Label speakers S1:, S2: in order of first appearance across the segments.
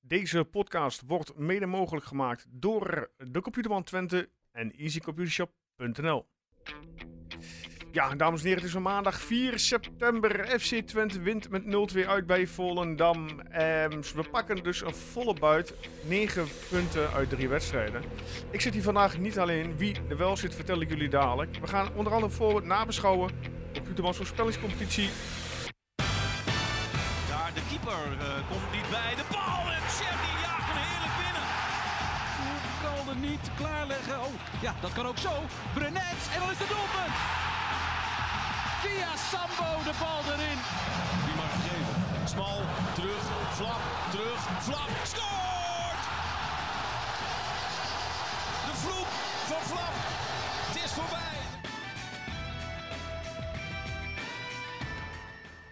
S1: Deze podcast wordt mede mogelijk gemaakt door de Computerman Twente en easycomputershop.nl. Ja, dames en heren, het is van maandag 4 september. FC Twente wint met 0-2 uit bij Volendam. Ehm, we pakken dus een volle buit. 9 punten uit drie wedstrijden. Ik zit hier vandaag niet alleen. Wie er wel zit, vertel ik jullie dadelijk. We gaan onder andere voor het nabeschouwen. Computermans voorspellingscompetitie.
S2: Daar de keeper eh, komt niet bij. De bal en Chef die jaagt hem heerlijk binnen.
S3: kan er niet klaarleggen. Oh, ja, dat kan ook zo. Brenets, en dan is het doelpunt. Via Sambo de bal erin.
S2: Die mag geven. Smal, terug, flap, terug, flap. Scoort! De vloek van flap. Het is voorbij.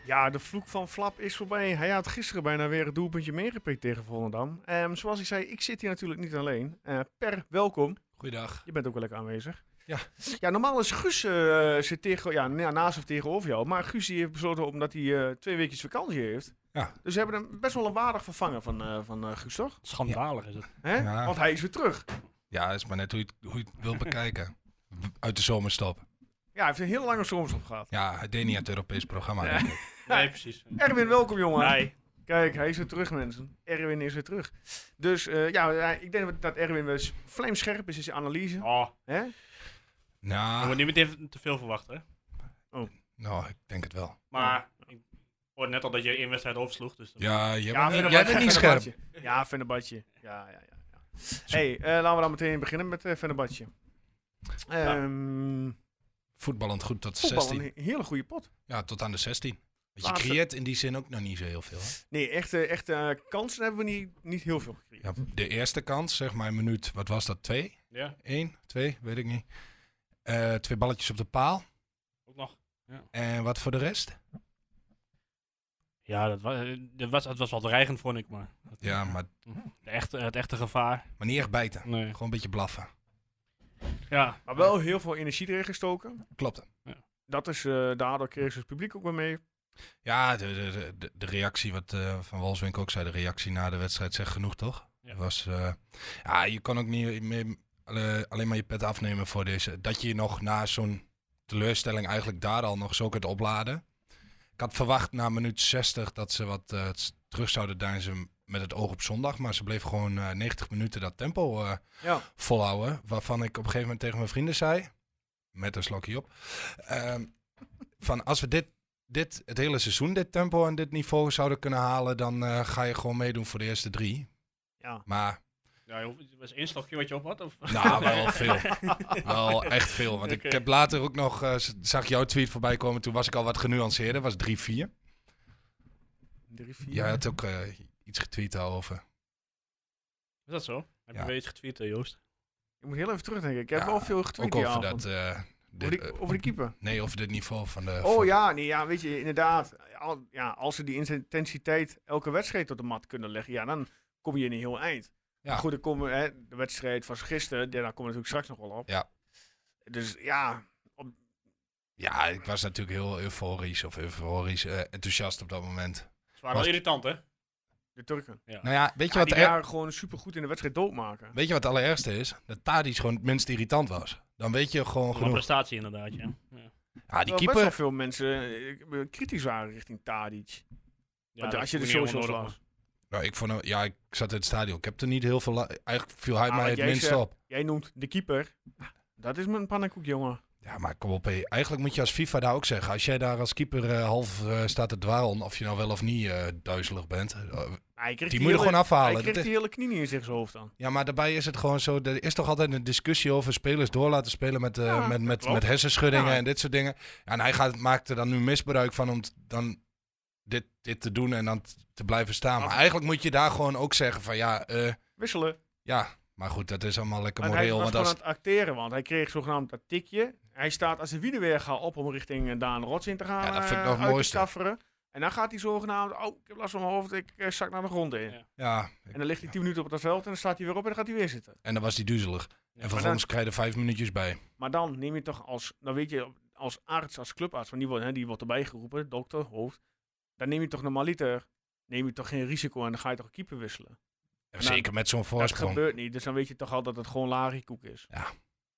S1: Ja, de vloek van Flap is voorbij. Hij had gisteren bijna weer het doelpuntje meegepikt tegen Volendam. Ehm, zoals ik zei, ik zit hier natuurlijk niet alleen. Eh, per, welkom.
S4: Goeiedag.
S1: Je bent ook wel lekker aanwezig.
S4: Ja.
S1: ja, normaal is Guus eh, zit tegen, ja, na- naast of tegenover jou. Maar Guus die heeft besloten omdat hij eh, twee weekjes vakantie heeft.
S4: Ja.
S1: Dus we hebben hem best wel een waardig vervanger van, eh, van eh, Guus, toch?
S5: Schandalig is het.
S1: Hè?
S4: Ja.
S1: Want hij is weer terug.
S4: Ja, dat is maar net hoe je het, hoe je het wilt bekijken. B- Uit de zomerstop.
S1: Ja, hij heeft een heel lange zomerstop gehad.
S4: Ja, hij deed niet aan het Europees programma. denk ik.
S5: Nee, precies.
S1: Erwin, welkom jongen.
S5: Nee.
S1: Kijk, hij is weer terug, mensen. Erwin is weer terug. Dus eh, ja, eh, ik denk dat Erwin wel eens vlijmscherp is in zijn analyse.
S5: Oh,
S1: Hè?
S5: je moet
S4: Nou,
S5: niet meteen te veel verwachten. hè.
S4: nou, ik denk het wel.
S5: Maar ik hoorde net al dat je één wedstrijd oversloeg. Dus dan-
S4: Ja, jij
S1: Ja,
S4: bent,
S1: vind
S4: jij bent niet scherp.
S1: Ja, Vennebadje. Ja, ja, ja. ja. hey, eh, laten we dan meteen beginnen met eh Vennebadje. Ehm
S4: Voetballend goed tot de
S1: voetbal,
S4: 16.
S1: een hele goede pot.
S4: Ja, tot aan de 16. Want je
S1: Laatste-
S4: creëert in die zin ook nog niet zo heel veel. hè?
S1: Nee, echte, echte eh, kansen hebben we niet, niet heel veel gekregen.
S4: Ja, de eerste kans, zeg maar, een minuut, wat was dat? Twee?
S5: ja,
S4: Eén? Twee? Weet ik niet. Eh, twee balletjes op de paal.
S5: ook nog.
S4: En wat voor de rest?
S5: Ja, dat was, dat was, het was wel dreigend, vond ik. Maar
S4: Ja, maar,
S5: de echte, het echte gevaar,
S4: maar niet echt bijten.
S5: nee.
S4: Gewoon een beetje blaffen.
S5: Ja,
S1: Maar wel heel veel energie erin gestoken.
S4: Klopt.
S1: Dat is, eh, daardoor kreeg ze het publiek ook weer mee.
S4: Ja, de, de, de, de reactie, wat eh, Van Walswinkel ook zei, de reactie na de wedstrijd zegt genoeg, toch?
S5: Ja.
S4: Dat Was, eh, ja, je kan ook niet meer, alle- alleen maar je pet afnemen voor deze. Dat je je nog na zo'n teleurstelling eigenlijk daar al nog zo kunt opladen. Ik had verwacht na minuut 60 dat ze wat eh, s- terug zouden deinzen met het oog op zondag. Maar ze bleef gewoon eh, 90 minuten dat tempo eh,
S1: Ja.
S4: volhouden. Waarvan ik op een gegeven moment tegen mijn vrienden zei, met een slokje op, ehm, van als we dit, dit het hele seizoen, dit tempo en dit niveau zouden kunnen halen, dan eh, ga je gewoon meedoen voor de eerste drie.
S1: Ja.
S4: Maar,
S5: ja je hoeft- het was één slokje wat je op had? Of?
S4: nou, wel veel. wel echt veel. Want
S5: Oké.
S4: ik heb later ook nog, eh, z- zag jouw tweet voorbij komen, toen was ik al wat genuanceerder, was 3-4.
S1: Drie, vier.
S4: Jij had ook eh, iets getweet daarover.
S5: Is dat zo? Heb je
S4: Ja.
S5: weer iets getweet, eh, Joost?
S1: Ik moet heel even terugdenken. Ik heb
S4: Ja,
S1: wel veel getweet
S4: Ook
S1: die
S4: over
S1: avond.
S4: dat... eh, dit,
S1: over, die,
S4: eh,
S1: over die keeper.
S4: Nee, over dit niveau van de...
S1: Oh
S4: van-
S1: ja, nee, ja, weet je, inderdaad. Al, ja, als ze die intensiteit elke wedstrijd tot de mat kunnen leggen, ja, dan kom je in een heel eind.
S4: Ja.
S1: Maar goed, dan komen hè, de wedstrijd van gisteren, ja, daar komen we natuurlijk straks nog wel op.
S4: Ja.
S1: Dus ja,
S4: Ja, ik was natuurlijk heel euforisch of euforisch eh, enthousiast op dat moment.
S5: Het waren wel
S4: Was-
S5: irritant, hè?
S1: de Turken.
S4: Nou ja, weet je,
S1: Ja,
S4: wat,
S1: die
S4: er,
S1: waren gewoon supergoed in de wedstrijd doodmaken.
S4: weet je wat het allerergste is? Dat Tadic gewoon het minst irritant was. Dan weet je gewoon
S5: Een
S4: genoeg.
S5: prestatie, inderdaad, ja. ja.
S4: Ja, Ah, die
S1: Terwijl best wel
S4: keeper.
S1: veel mensen eh, kritisch waren richting Tadic.
S5: Ja,
S1: Want
S5: dat
S1: als je de
S5: is niet
S1: socials
S5: onnodig,
S1: las.
S4: Nou, ik, vond, hem- ja, ik zat in het stadion. Ik heb er niet heel veel... la- Eigenlijk viel hij
S1: Ah,
S4: mij
S1: wat
S4: het
S1: jij
S4: minst
S1: zegt.
S4: op.
S1: Jij noemt de keeper. Ah, Dat is mijn pannenkoek, jongen.
S4: Ja, maar kom op. hé. Eigenlijk moet je als FIFA daar ook zeggen. Als jij daar als keeper eh, half eh, staat te dwalen, of je nou wel of niet eh, duizelig bent. eh,
S1: Hij kreeg
S4: die moet je er
S1: hele-
S4: gewoon
S1: Hij
S4: afhalen.
S1: kreeg
S4: Dat is-
S1: die hele knie niet in zijn hoofd aan.
S4: Ja, maar daarbij is het gewoon zo. Er is toch altijd een discussie over spelers door laten spelen met, eh,
S1: Ja,
S4: met, met,
S1: klopt.
S4: met hersenschuddingen
S1: Ja.
S4: en dit soort dingen. Ja, en hij gaat, maakt er dan nu misbruik van om t- dan dit, dit te doen en dan t- te blijven staan. Maar
S1: Maar-
S4: eigenlijk moet je daar gewoon ook zeggen van ja, eh,
S1: Wisselen.
S4: ja. Maar goed, dat is allemaal lekker
S1: Maar hij
S4: moreel.
S1: was
S4: Want
S1: gewoon
S4: als,
S1: aan het acteren, want hij kreeg zogenaamd dat tikje. Hij staat als de wielenweerga op om richting eh, Daan Rots in te gaan.
S4: Ja, dat vind
S1: eh,
S4: ik nog het
S1: uit te
S4: mooiste.
S1: stafferen. En dan gaat hij zogenaamd, oh, ik heb last van mijn hoofd, ik eh, zak naar de grond in.
S5: Ja.
S4: ja,
S1: En dan ligt hij 10 minuten op dat veld en dan staat hij weer op en dan gaat hij weer zitten.
S4: en dan was hij duizelig.
S5: maar
S4: en vervolgens krijg je er vijf minuutjes bij.
S1: Maar dan neem je toch als, dan weet je, als arts, als clubarts, want die wordt, hè, die wordt erbij geroepen, dokter, hoofd. Dan neem je toch normaliter, neem je toch geen risico en dan ga je toch een keeper wisselen. Nou,
S4: Zeker met zo'n
S1: Dat
S4: voorsprong.
S1: gebeurt niet, dus dan weet je toch al dat het gewoon lage koek is.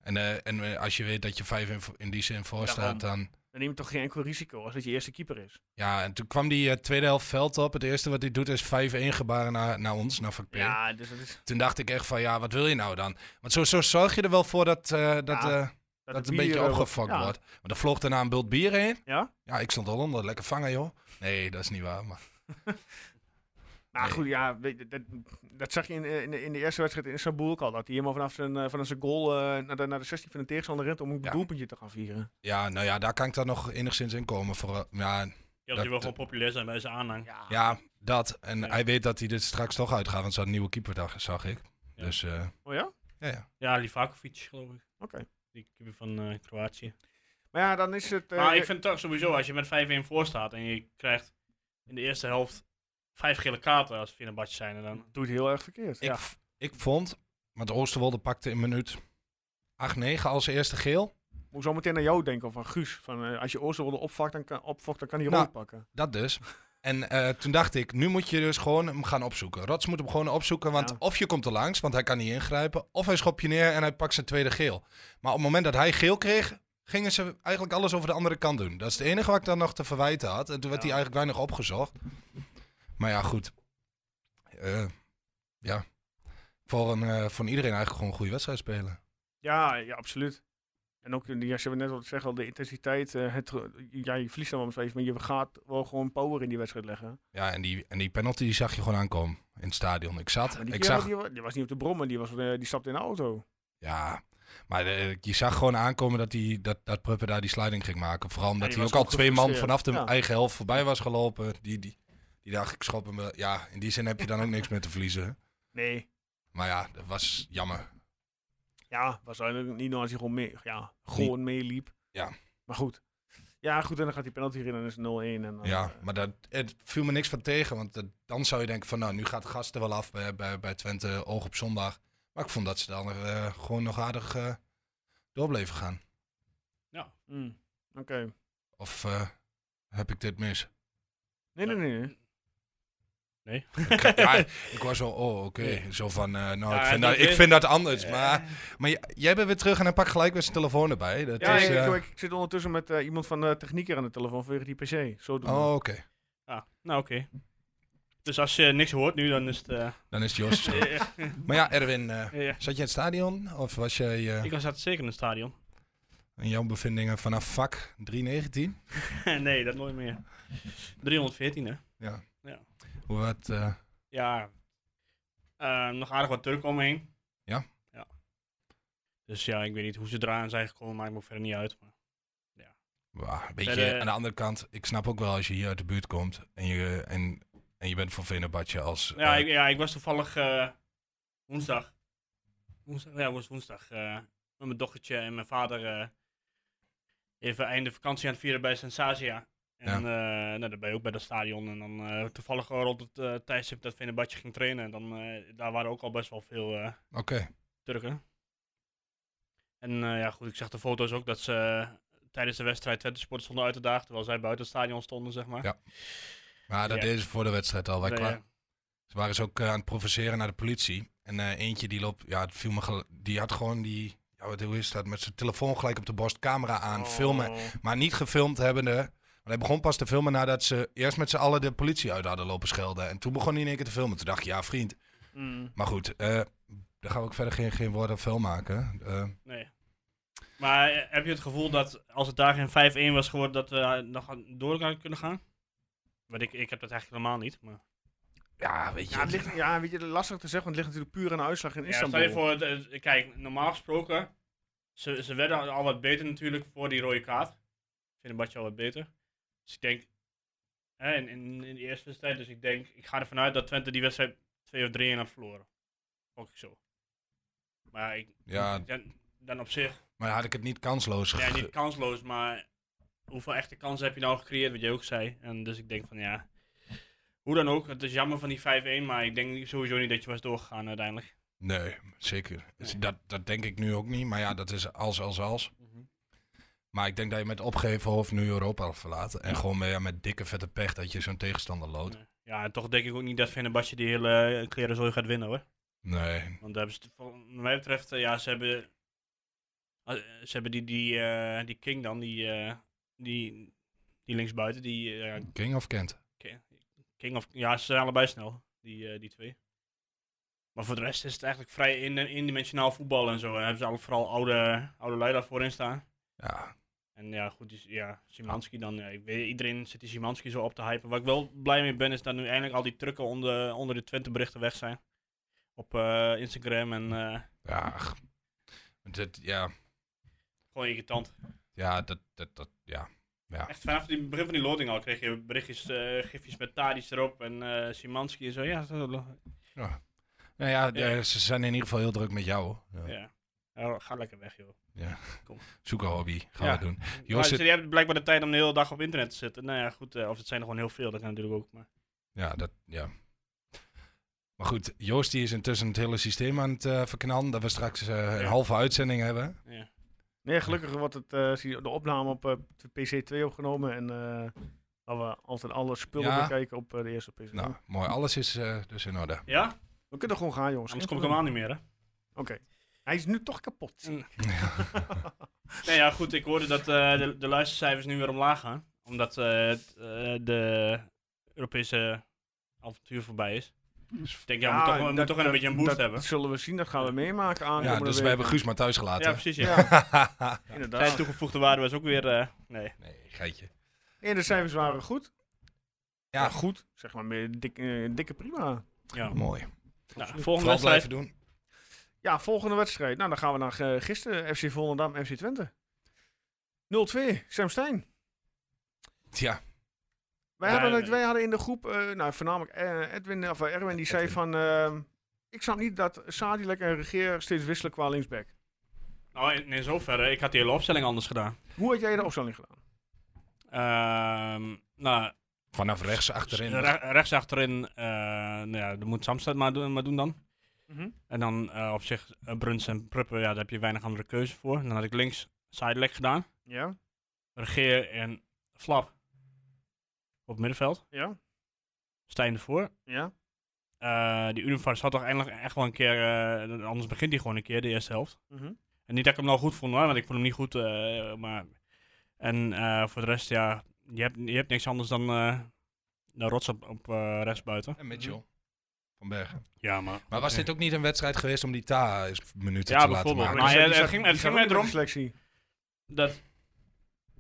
S4: En, eh, en eh, als je weet dat je vijf in, vo- in die zin voor
S1: Daarom.
S4: staat, dan...
S1: Dan neem je toch geen enkel risico als dat je eerste keeper is.
S4: Ja, en toen kwam die eh, tweede helft veld op. Het eerste wat hij doet is 5-1 gebaren naar, naar ons, naar Vakpé.
S1: Ja, dus dat, is,
S4: Toen dacht ik echt van, ja, wat wil je nou dan? Want zo, zo zorg je er wel voor dat, eh, dat,
S1: Ja,
S4: eh,
S1: dat,
S4: dat,
S1: de
S4: het een beetje
S1: bier, eh,
S4: opgefokt
S1: ja.
S4: wordt. Maar er vloog daarna een bult bier heen.
S1: Ja?
S4: Ja, ik stond al onder. Lekker vangen, joh. Nee, dat is niet waar. Maar
S1: Maar
S4: Nee.
S1: Nou, goed, ja, weet je, dat, dat zag je in, eh, in, de, in de eerste wedstrijd in Istanbul ook al. Dat hij helemaal vanaf zijn, eh, vanaf zijn goal eh, naar, de, naar de 16 van de tegenstander rent om een
S4: Ja.
S1: doelpuntje te gaan vieren.
S4: ja, nou ja, daar kan ik dan nog enigszins in komen. Voor, eh, ja,
S5: Ja, dat
S4: Dat-
S5: hij wel gewoon populair zijn bij zijn aanhang.
S1: Ja.
S4: ja, dat. En
S5: Ja.
S4: hij weet dat hij dit straks toch uitgaat, want ze had een nieuwe keeper, dag- zag ik.
S5: Ja.
S4: Dus eh,
S1: Oh ja? Oké.
S4: ja, ja.
S5: Ja, Livakovic geloof ik. Die keeper van eh, Kroatië.
S1: Maar ja, dan is het... eh,
S5: Maar Nou, ik vind toch sowieso, als je met 5-1 voor staat en je krijgt in de eerste helft vijf gele kaarten als Fenerbahce zijn en dan...
S1: doet heel erg verkeerd.
S4: Ik,
S1: ja.
S4: v- ik vond, want Oosterwolde pakte in minuut 8-9 als eerste geel.
S1: Moet zo meteen aan jou denken of aan Guus. Van, eh, als je Oosterwolde opvakt, dan kan, opvocht, dan kan hij
S4: Nou.
S1: rood pakken.
S4: Dat dus. En eh, toen dacht ik, nu moet je dus gewoon hem gaan opzoeken. Rots moet hem gewoon opzoeken, want
S1: Ja.
S4: of je komt er langs, want hij kan niet ingrijpen. Of hij schopt je neer en hij pakt zijn tweede geel. Maar op het moment dat hij geel kreeg, gingen ze eigenlijk alles over de andere kant doen. Dat is het enige wat ik dan nog te verwijten had. En toen werd
S5: Ja.
S4: hij eigenlijk weinig opgezocht. Maar ja, goed. Eh, ja. Voor, een, eh, voor iedereen eigenlijk gewoon een goede wedstrijd spelen.
S1: Ja, ja, absoluut. En ook, eh, ja, ze hebben net al gezegd, al de intensiteit. eh, het, ja, je verliest dan wel eens even, maar je gaat wel gewoon power in die wedstrijd leggen.
S4: Ja, en die, en die penalty die zag je gewoon aankomen in het stadion. Ik zat,
S1: Maar die,
S4: ik
S1: kerel,
S4: zag,
S1: die, wa- die was niet op de brommen, die, was, eh, die stapte in de auto.
S4: ja, maar eh, je zag gewoon aankomen dat, die, dat, dat Pruppen daar die sliding ging maken. Vooral omdat
S1: die
S4: hij
S1: was
S4: ook al
S1: ook
S4: twee man
S1: gefrustreerd,
S4: vanaf de
S1: ja.
S4: eigen helft voorbij was gelopen. Die, die, die dacht, ik schop hem wel. Ja, in die zin heb je dan ook niks meer te verliezen.
S1: Nee.
S4: Maar ja, dat was jammer.
S1: Ja, was eigenlijk niet nou als hij gewoon, mee, ja, gewoon meeliep.
S4: Ja.
S1: Maar goed. Ja, goed, en dan gaat die penalty erin en dan is het 0-1. En dan,
S4: Ja,
S1: eh,
S4: maar dat, het viel me niks van tegen. Want dat- dan zou je denken van, nou, nu gaat de gasten wel af bij, bij, bij Twente, oog op zondag. Maar ik vond dat ze dan eh, gewoon nog aardig eh, door bleven gaan.
S1: mm, Oké.
S4: Of eh, heb ik dit mis?
S1: Nee, nee, nee, nee.
S5: Nee.
S4: Ja, ik was zo, oh, oké. Zo van, eh, nou,
S5: Ja,
S4: ik, vind
S5: die
S4: dat, ik
S5: win-
S4: vind dat anders.
S5: Eh,
S4: Maar, maar j- jij bent weer terug en hij pakt gelijk weer zijn telefoon erbij. Dat
S1: Ja,
S4: is,
S1: ik,
S4: eh,
S1: ik- ik zit ondertussen met eh, iemand van de techniek hier aan de telefoon vanwege die PC. Zo doen we.
S4: oh, oké.
S5: Ja, nou oké. Dus als je niks hoort nu, dan is het... eh,
S4: Dan is het Jos. maar ja, Erwin, eh,
S5: eh, eh,
S4: zat je in het stadion? Of was jij eh,
S5: ik was dat zeker in het stadion.
S4: in jouw bevindingen vanaf vak 319?
S5: nee, dat nooit meer. 314 hè.
S4: Ja.
S5: Ja.
S4: Hoe wat, eh,
S5: Ja. Eh, nog aardig wat Turk omheen.
S4: Ja.
S5: Ja. Dus ja, ik weet niet hoe ze eraan zijn gekomen, maakt me ook verder niet uit. Maar...
S4: wauw, weet je,
S5: Verder-
S4: aan de andere kant, ik snap ook wel als je hier uit de buurt komt en je, en, en je bent van Venebadje als...
S5: Ja,
S4: eh,
S5: ik, ja, ik was toevallig eh, woensdag. woensdag. Ja, was woensdag. eh, met mijn dochtertje en mijn vader. eh, even einde vakantie aan het vieren bij Sensatia. En eh, nou, dan ben je ook bij dat stadion. En dan eh, toevallig rond het eh tijdstip dat Venebadje ging trainen. En dan, eh, daar waren ook al best wel veel eh,
S4: Oké,
S5: Turken. En eh, ja, goed, ik zag de foto's ook dat ze eh, tijdens de wedstrijd Twente Sport stonden uit te dagen. Terwijl zij buiten het stadion stonden, zeg maar. eh,
S4: Ja, maar dat
S5: Ja.
S4: deden ze voor de wedstrijd al. Wij
S5: Nee,
S4: kwa-
S5: ja.
S4: Ze waren ze ook eh, aan het provoceren naar de politie. En eh, eentje die loopt, ja, het viel me gel- die had gewoon die, ja, wat hoe is dat, met zijn telefoon gelijk op de borst, camera aan, filmen.
S1: Oh.
S4: Maar niet gefilmd hebbende. Want hij begon pas te filmen nadat ze eerst met z'n allen de politie uit hadden lopen schelden. En toen begon hij in één keer te filmen. Toen dacht ik, ja, vriend.
S1: Mm.
S4: Maar goed, eh, daar gaan we ook verder geen, geen woord aan vuil maken. Eh,
S5: Nee. Maar eh, heb je het gevoel dat als het daar geen 5-1 was geworden, dat we eh, nog aan- door hadden kunnen gaan? Want ik, ik heb dat eigenlijk helemaal niet. Maar...
S4: ja, weet je.
S1: Ja, het ligt, ja, weet je, lastig te zeggen, want het ligt natuurlijk puur aan de uitslag in
S5: Ja,
S1: Istanbul.
S5: stel je voor, het- het- kijk, normaal gesproken, ze, ze werden al wat beter natuurlijk voor die rode kaart. Ik vind Badje al wat beter. Dus ik denk, hè, in, in, in de eerste wedstrijd, dus ik denk, ik ga ervan uit dat Twente die wedstrijd 2 of 3-1 had verloren. Ook zo. Maar ik,
S4: Ja.
S5: dan, dan op zich,
S4: Maar had ik het niet kansloos
S5: Ja,
S4: ge-
S5: niet kansloos, maar hoeveel echte kansen heb je nou gecreëerd, wat je ook zei. En dus ik denk van ja, hoe dan ook, het is jammer van die 5-1, maar ik denk sowieso niet dat je was doorgegaan uiteindelijk.
S4: Nee, zeker. Dus Dat, dat denk ik nu ook niet. Maar ja, dat is als, als, als. Maar ik denk dat je met opgeven hoofd nu Europa verlaat. En gewoon met, ja, met dikke vette pech dat je zo'n tegenstander loodt.
S5: Nee. Eh, Ja, en toch denk ik ook niet dat Fenerbahce die hele eh, klerenzooi gaat winnen hoor.
S4: Nee.
S5: Want daar hebben ze, vol- wat mij betreft, eh, ja, ze hebben, ah, eh, ze hebben die, die, eh, die King dan, die, eh, die, die linksbuiten, die eh,
S4: King of Kent?
S5: Ki- King of, ja, ze zijn allebei snel, die, eh, die twee. Maar voor de rest is het eigenlijk vrij in, indimensionaal voetbal en zo. En hebben ze al, vooral oude, oude lui daarvoor in staan.
S4: Ja.
S5: En ja, goed, die, ja, Simanski dan. ja, ik weet, iedereen zit die Simanski zo op te hypen. Waar ik wel blij mee ben, is dat nu eindelijk al die trucken onder, onder de Twente berichten weg zijn. Op eh, Instagram en eh,
S4: Ja. ach. Dit, ja.
S5: gewoon irritant.
S4: Ja, dat, dat, dat, ja.
S5: Echt vanaf het begin van die loading al kreeg je berichtjes, eh, gifjes met Tadic erop en eh Simanski en zo. Ja, zo,
S4: Nou ja,
S5: Ja.
S4: eh, ze zijn in ieder geval heel druk met jou. Ja.
S5: ja. Ja, ga lekker weg joh.
S4: Zoek een hobby. Gaan
S5: Ja.
S4: we doen.
S5: Ja,
S4: Joost,
S5: ze
S4: zit-
S5: die hebben blijkbaar de tijd om de hele dag op internet te zitten. Nou ja, goed, eh, of het zijn er gewoon heel veel, dat kan natuurlijk ook. Maar
S4: ja, dat, ja. Maar goed, Joost die is intussen het hele systeem aan het eh, verknallen. Dat we straks eh, een
S5: Ja.
S4: halve uitzending hebben.
S5: ja.
S1: Nee, gelukkig wordt het, eh, zie je de opname op eh, PC2 opgenomen. En eh dat we altijd alle spullen
S4: Ja.
S1: bekijken op eh, de eerste PC2.
S4: Nou, mooi. Alles is eh, dus in orde.
S5: ja?
S1: We kunnen gewoon gaan, jongens.
S5: Anders
S1: Geen
S5: kom ik helemaal
S1: probleem.
S5: niet meer, hè?
S1: Oké. Hij is nu toch kapot.
S5: Nee, ja, goed, ik hoorde dat eh, de, de luistercijfers nu weer omlaag gaan. Omdat eh, het, eh, de Europese avontuur voorbij is. Dus ik denk, ja, we moeten toch, we moeten
S1: dat-
S5: toch een
S1: dat-
S5: beetje een boost
S1: dat
S5: hebben.
S1: zullen we zien, dat gaan we meemaken aan.
S4: ja, dus we hebben Guus maar thuis
S5: Ja,
S4: gelaten.
S5: precies, ja.
S1: Ja,
S5: Zijn
S1: inderdaad.
S5: toegevoegde waarde was ook weer, eh, nee.
S4: nee, geitje.
S1: En de cijfers waren goed.
S4: Ja.
S1: goed. Zeg maar, meer dik, eh, dikke prima.
S5: Ja.
S4: Mooi.
S5: Nou, volgende
S4: Vooral
S5: wedstrijd.
S4: blijven doen.
S1: Ja, volgende wedstrijd. Nou, dan gaan we naar eh, gisteren. FC Volendam, FC Twente. 0-2, Sam Stein.
S4: Ja,
S1: Wij,
S5: Ja,
S1: hadden, het,
S5: eh,
S1: wij hadden in de groep, eh, nou, voornamelijk eh, Edwin, of eh, Erwin, die zei
S4: Edwin.
S1: van... ehm, ik snap niet dat Sadilek en Regeer steeds wisselen qua linksback.
S5: Nou, in, in zoverre, ik had die hele opstelling anders gedaan.
S1: Hoe had jij de opstelling gedaan?
S5: Ehm, nou,
S4: vanaf rechts achterin.
S5: Re- rechts achterin, eh nou ja, dat moet Samstad maar doen, maar doen dan.
S1: Mhm.
S5: En dan eh, op zich eh, Bruns en Pruppen, ja, daar heb je weinig andere keuze voor. En dan had ik links Sidelek gedaan,
S1: Ja,
S5: Regeer en Flap op middenveld.
S1: ja,
S5: Stijn ervoor.
S1: ja.
S5: Eh, die Univars had toch eindelijk echt wel een keer, eh, anders begint hij gewoon een keer de eerste helft.
S1: Mhm.
S5: En niet dat ik hem nou goed vond hoor, want ik vond hem niet goed. eh, maar... En eh, voor de rest, ja, je hebt, je hebt niks anders dan, eh dan rots op, op eh, rechtsbuiten.
S4: En Mitchell. Van Bergen.
S5: Ja, maar...
S4: Maar was dit ook niet een wedstrijd geweest om die Ta eens minuten
S5: Ja,
S4: te laten
S5: bijvoorbeeld.
S4: maken?
S5: Maar
S1: die
S5: ja,
S1: zat- die
S5: het
S1: zat-
S5: ging-
S1: die
S5: het
S1: zat ook in
S5: ging mij
S1: de
S5: erom.
S1: selectie.
S5: dat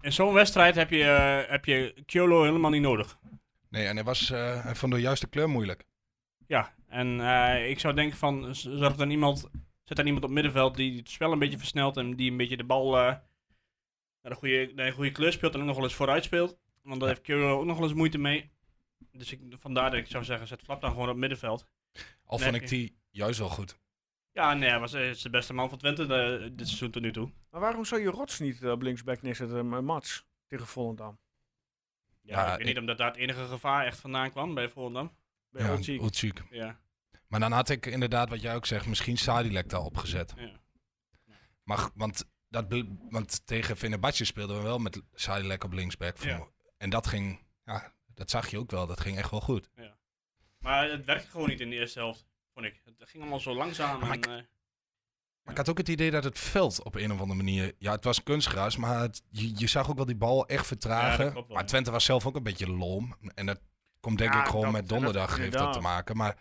S5: in zo'n wedstrijd heb je, eh, heb je Kyolo helemaal niet nodig.
S4: Nee, en hij was eh, hij vond de juiste kleur moeilijk.
S5: Ja, en eh, ik zou denken van, z- zorg dan iemand, zet dan iemand op middenveld die het spel een beetje versnelt en die een beetje de bal eh, naar, de goede, naar een goede kleur speelt en ook nog wel eens vooruit speelt. Want daar heeft Kyolo ook nog wel eens moeite mee. Dus ik, vandaar dat ik zou zeggen, zet Flap dan gewoon op middenveld.
S4: Al
S5: Nee,
S4: vond ik
S5: oké.
S4: die juist wel goed.
S5: Ja, nee, hij was, hij is de beste man van Twente eh, dit seizoen tot nu toe.
S1: Maar waarom zou je Rots niet eh, op linksback neerzetten, uh, Mats, tegen Volendam?
S5: Ja,
S4: Ja,
S5: ik weet
S4: ik-
S5: niet omdat daar het enige gevaar echt vandaan kwam bij Volendam.
S1: Bij
S4: ja,
S1: Olcic.
S4: Olcic.
S5: Ja,
S4: Maar dan had ik inderdaad, wat jij ook zegt, misschien Sadilek daar opgezet.
S5: ja.
S4: Maar, g- want, dat, be- want tegen Fenerbahce speelden we wel met Sadilek op linksback.
S5: Ja.
S4: voor- En dat ging, ja, dat zag je ook wel, dat ging echt wel goed.
S5: Maar het werkte gewoon niet in de eerste helft, vond ik. Het ging allemaal zo langzaam.
S4: Maar
S5: En,
S4: ik-
S5: eh,
S4: Maar ik had ook het idee dat het veld op een of andere manier... Ja, het was kunstgras, maar het- je, je zag ook wel die bal echt
S5: Ja,
S4: vertragen.
S5: dat klopt wel.
S4: maar Twente was zelf ook een beetje lom. En dat komt denk
S1: Ja,
S4: ik gewoon
S1: dat-
S4: met donderdag
S1: dat-
S4: heeft dat te
S1: inderdaad.
S4: maken. Maar,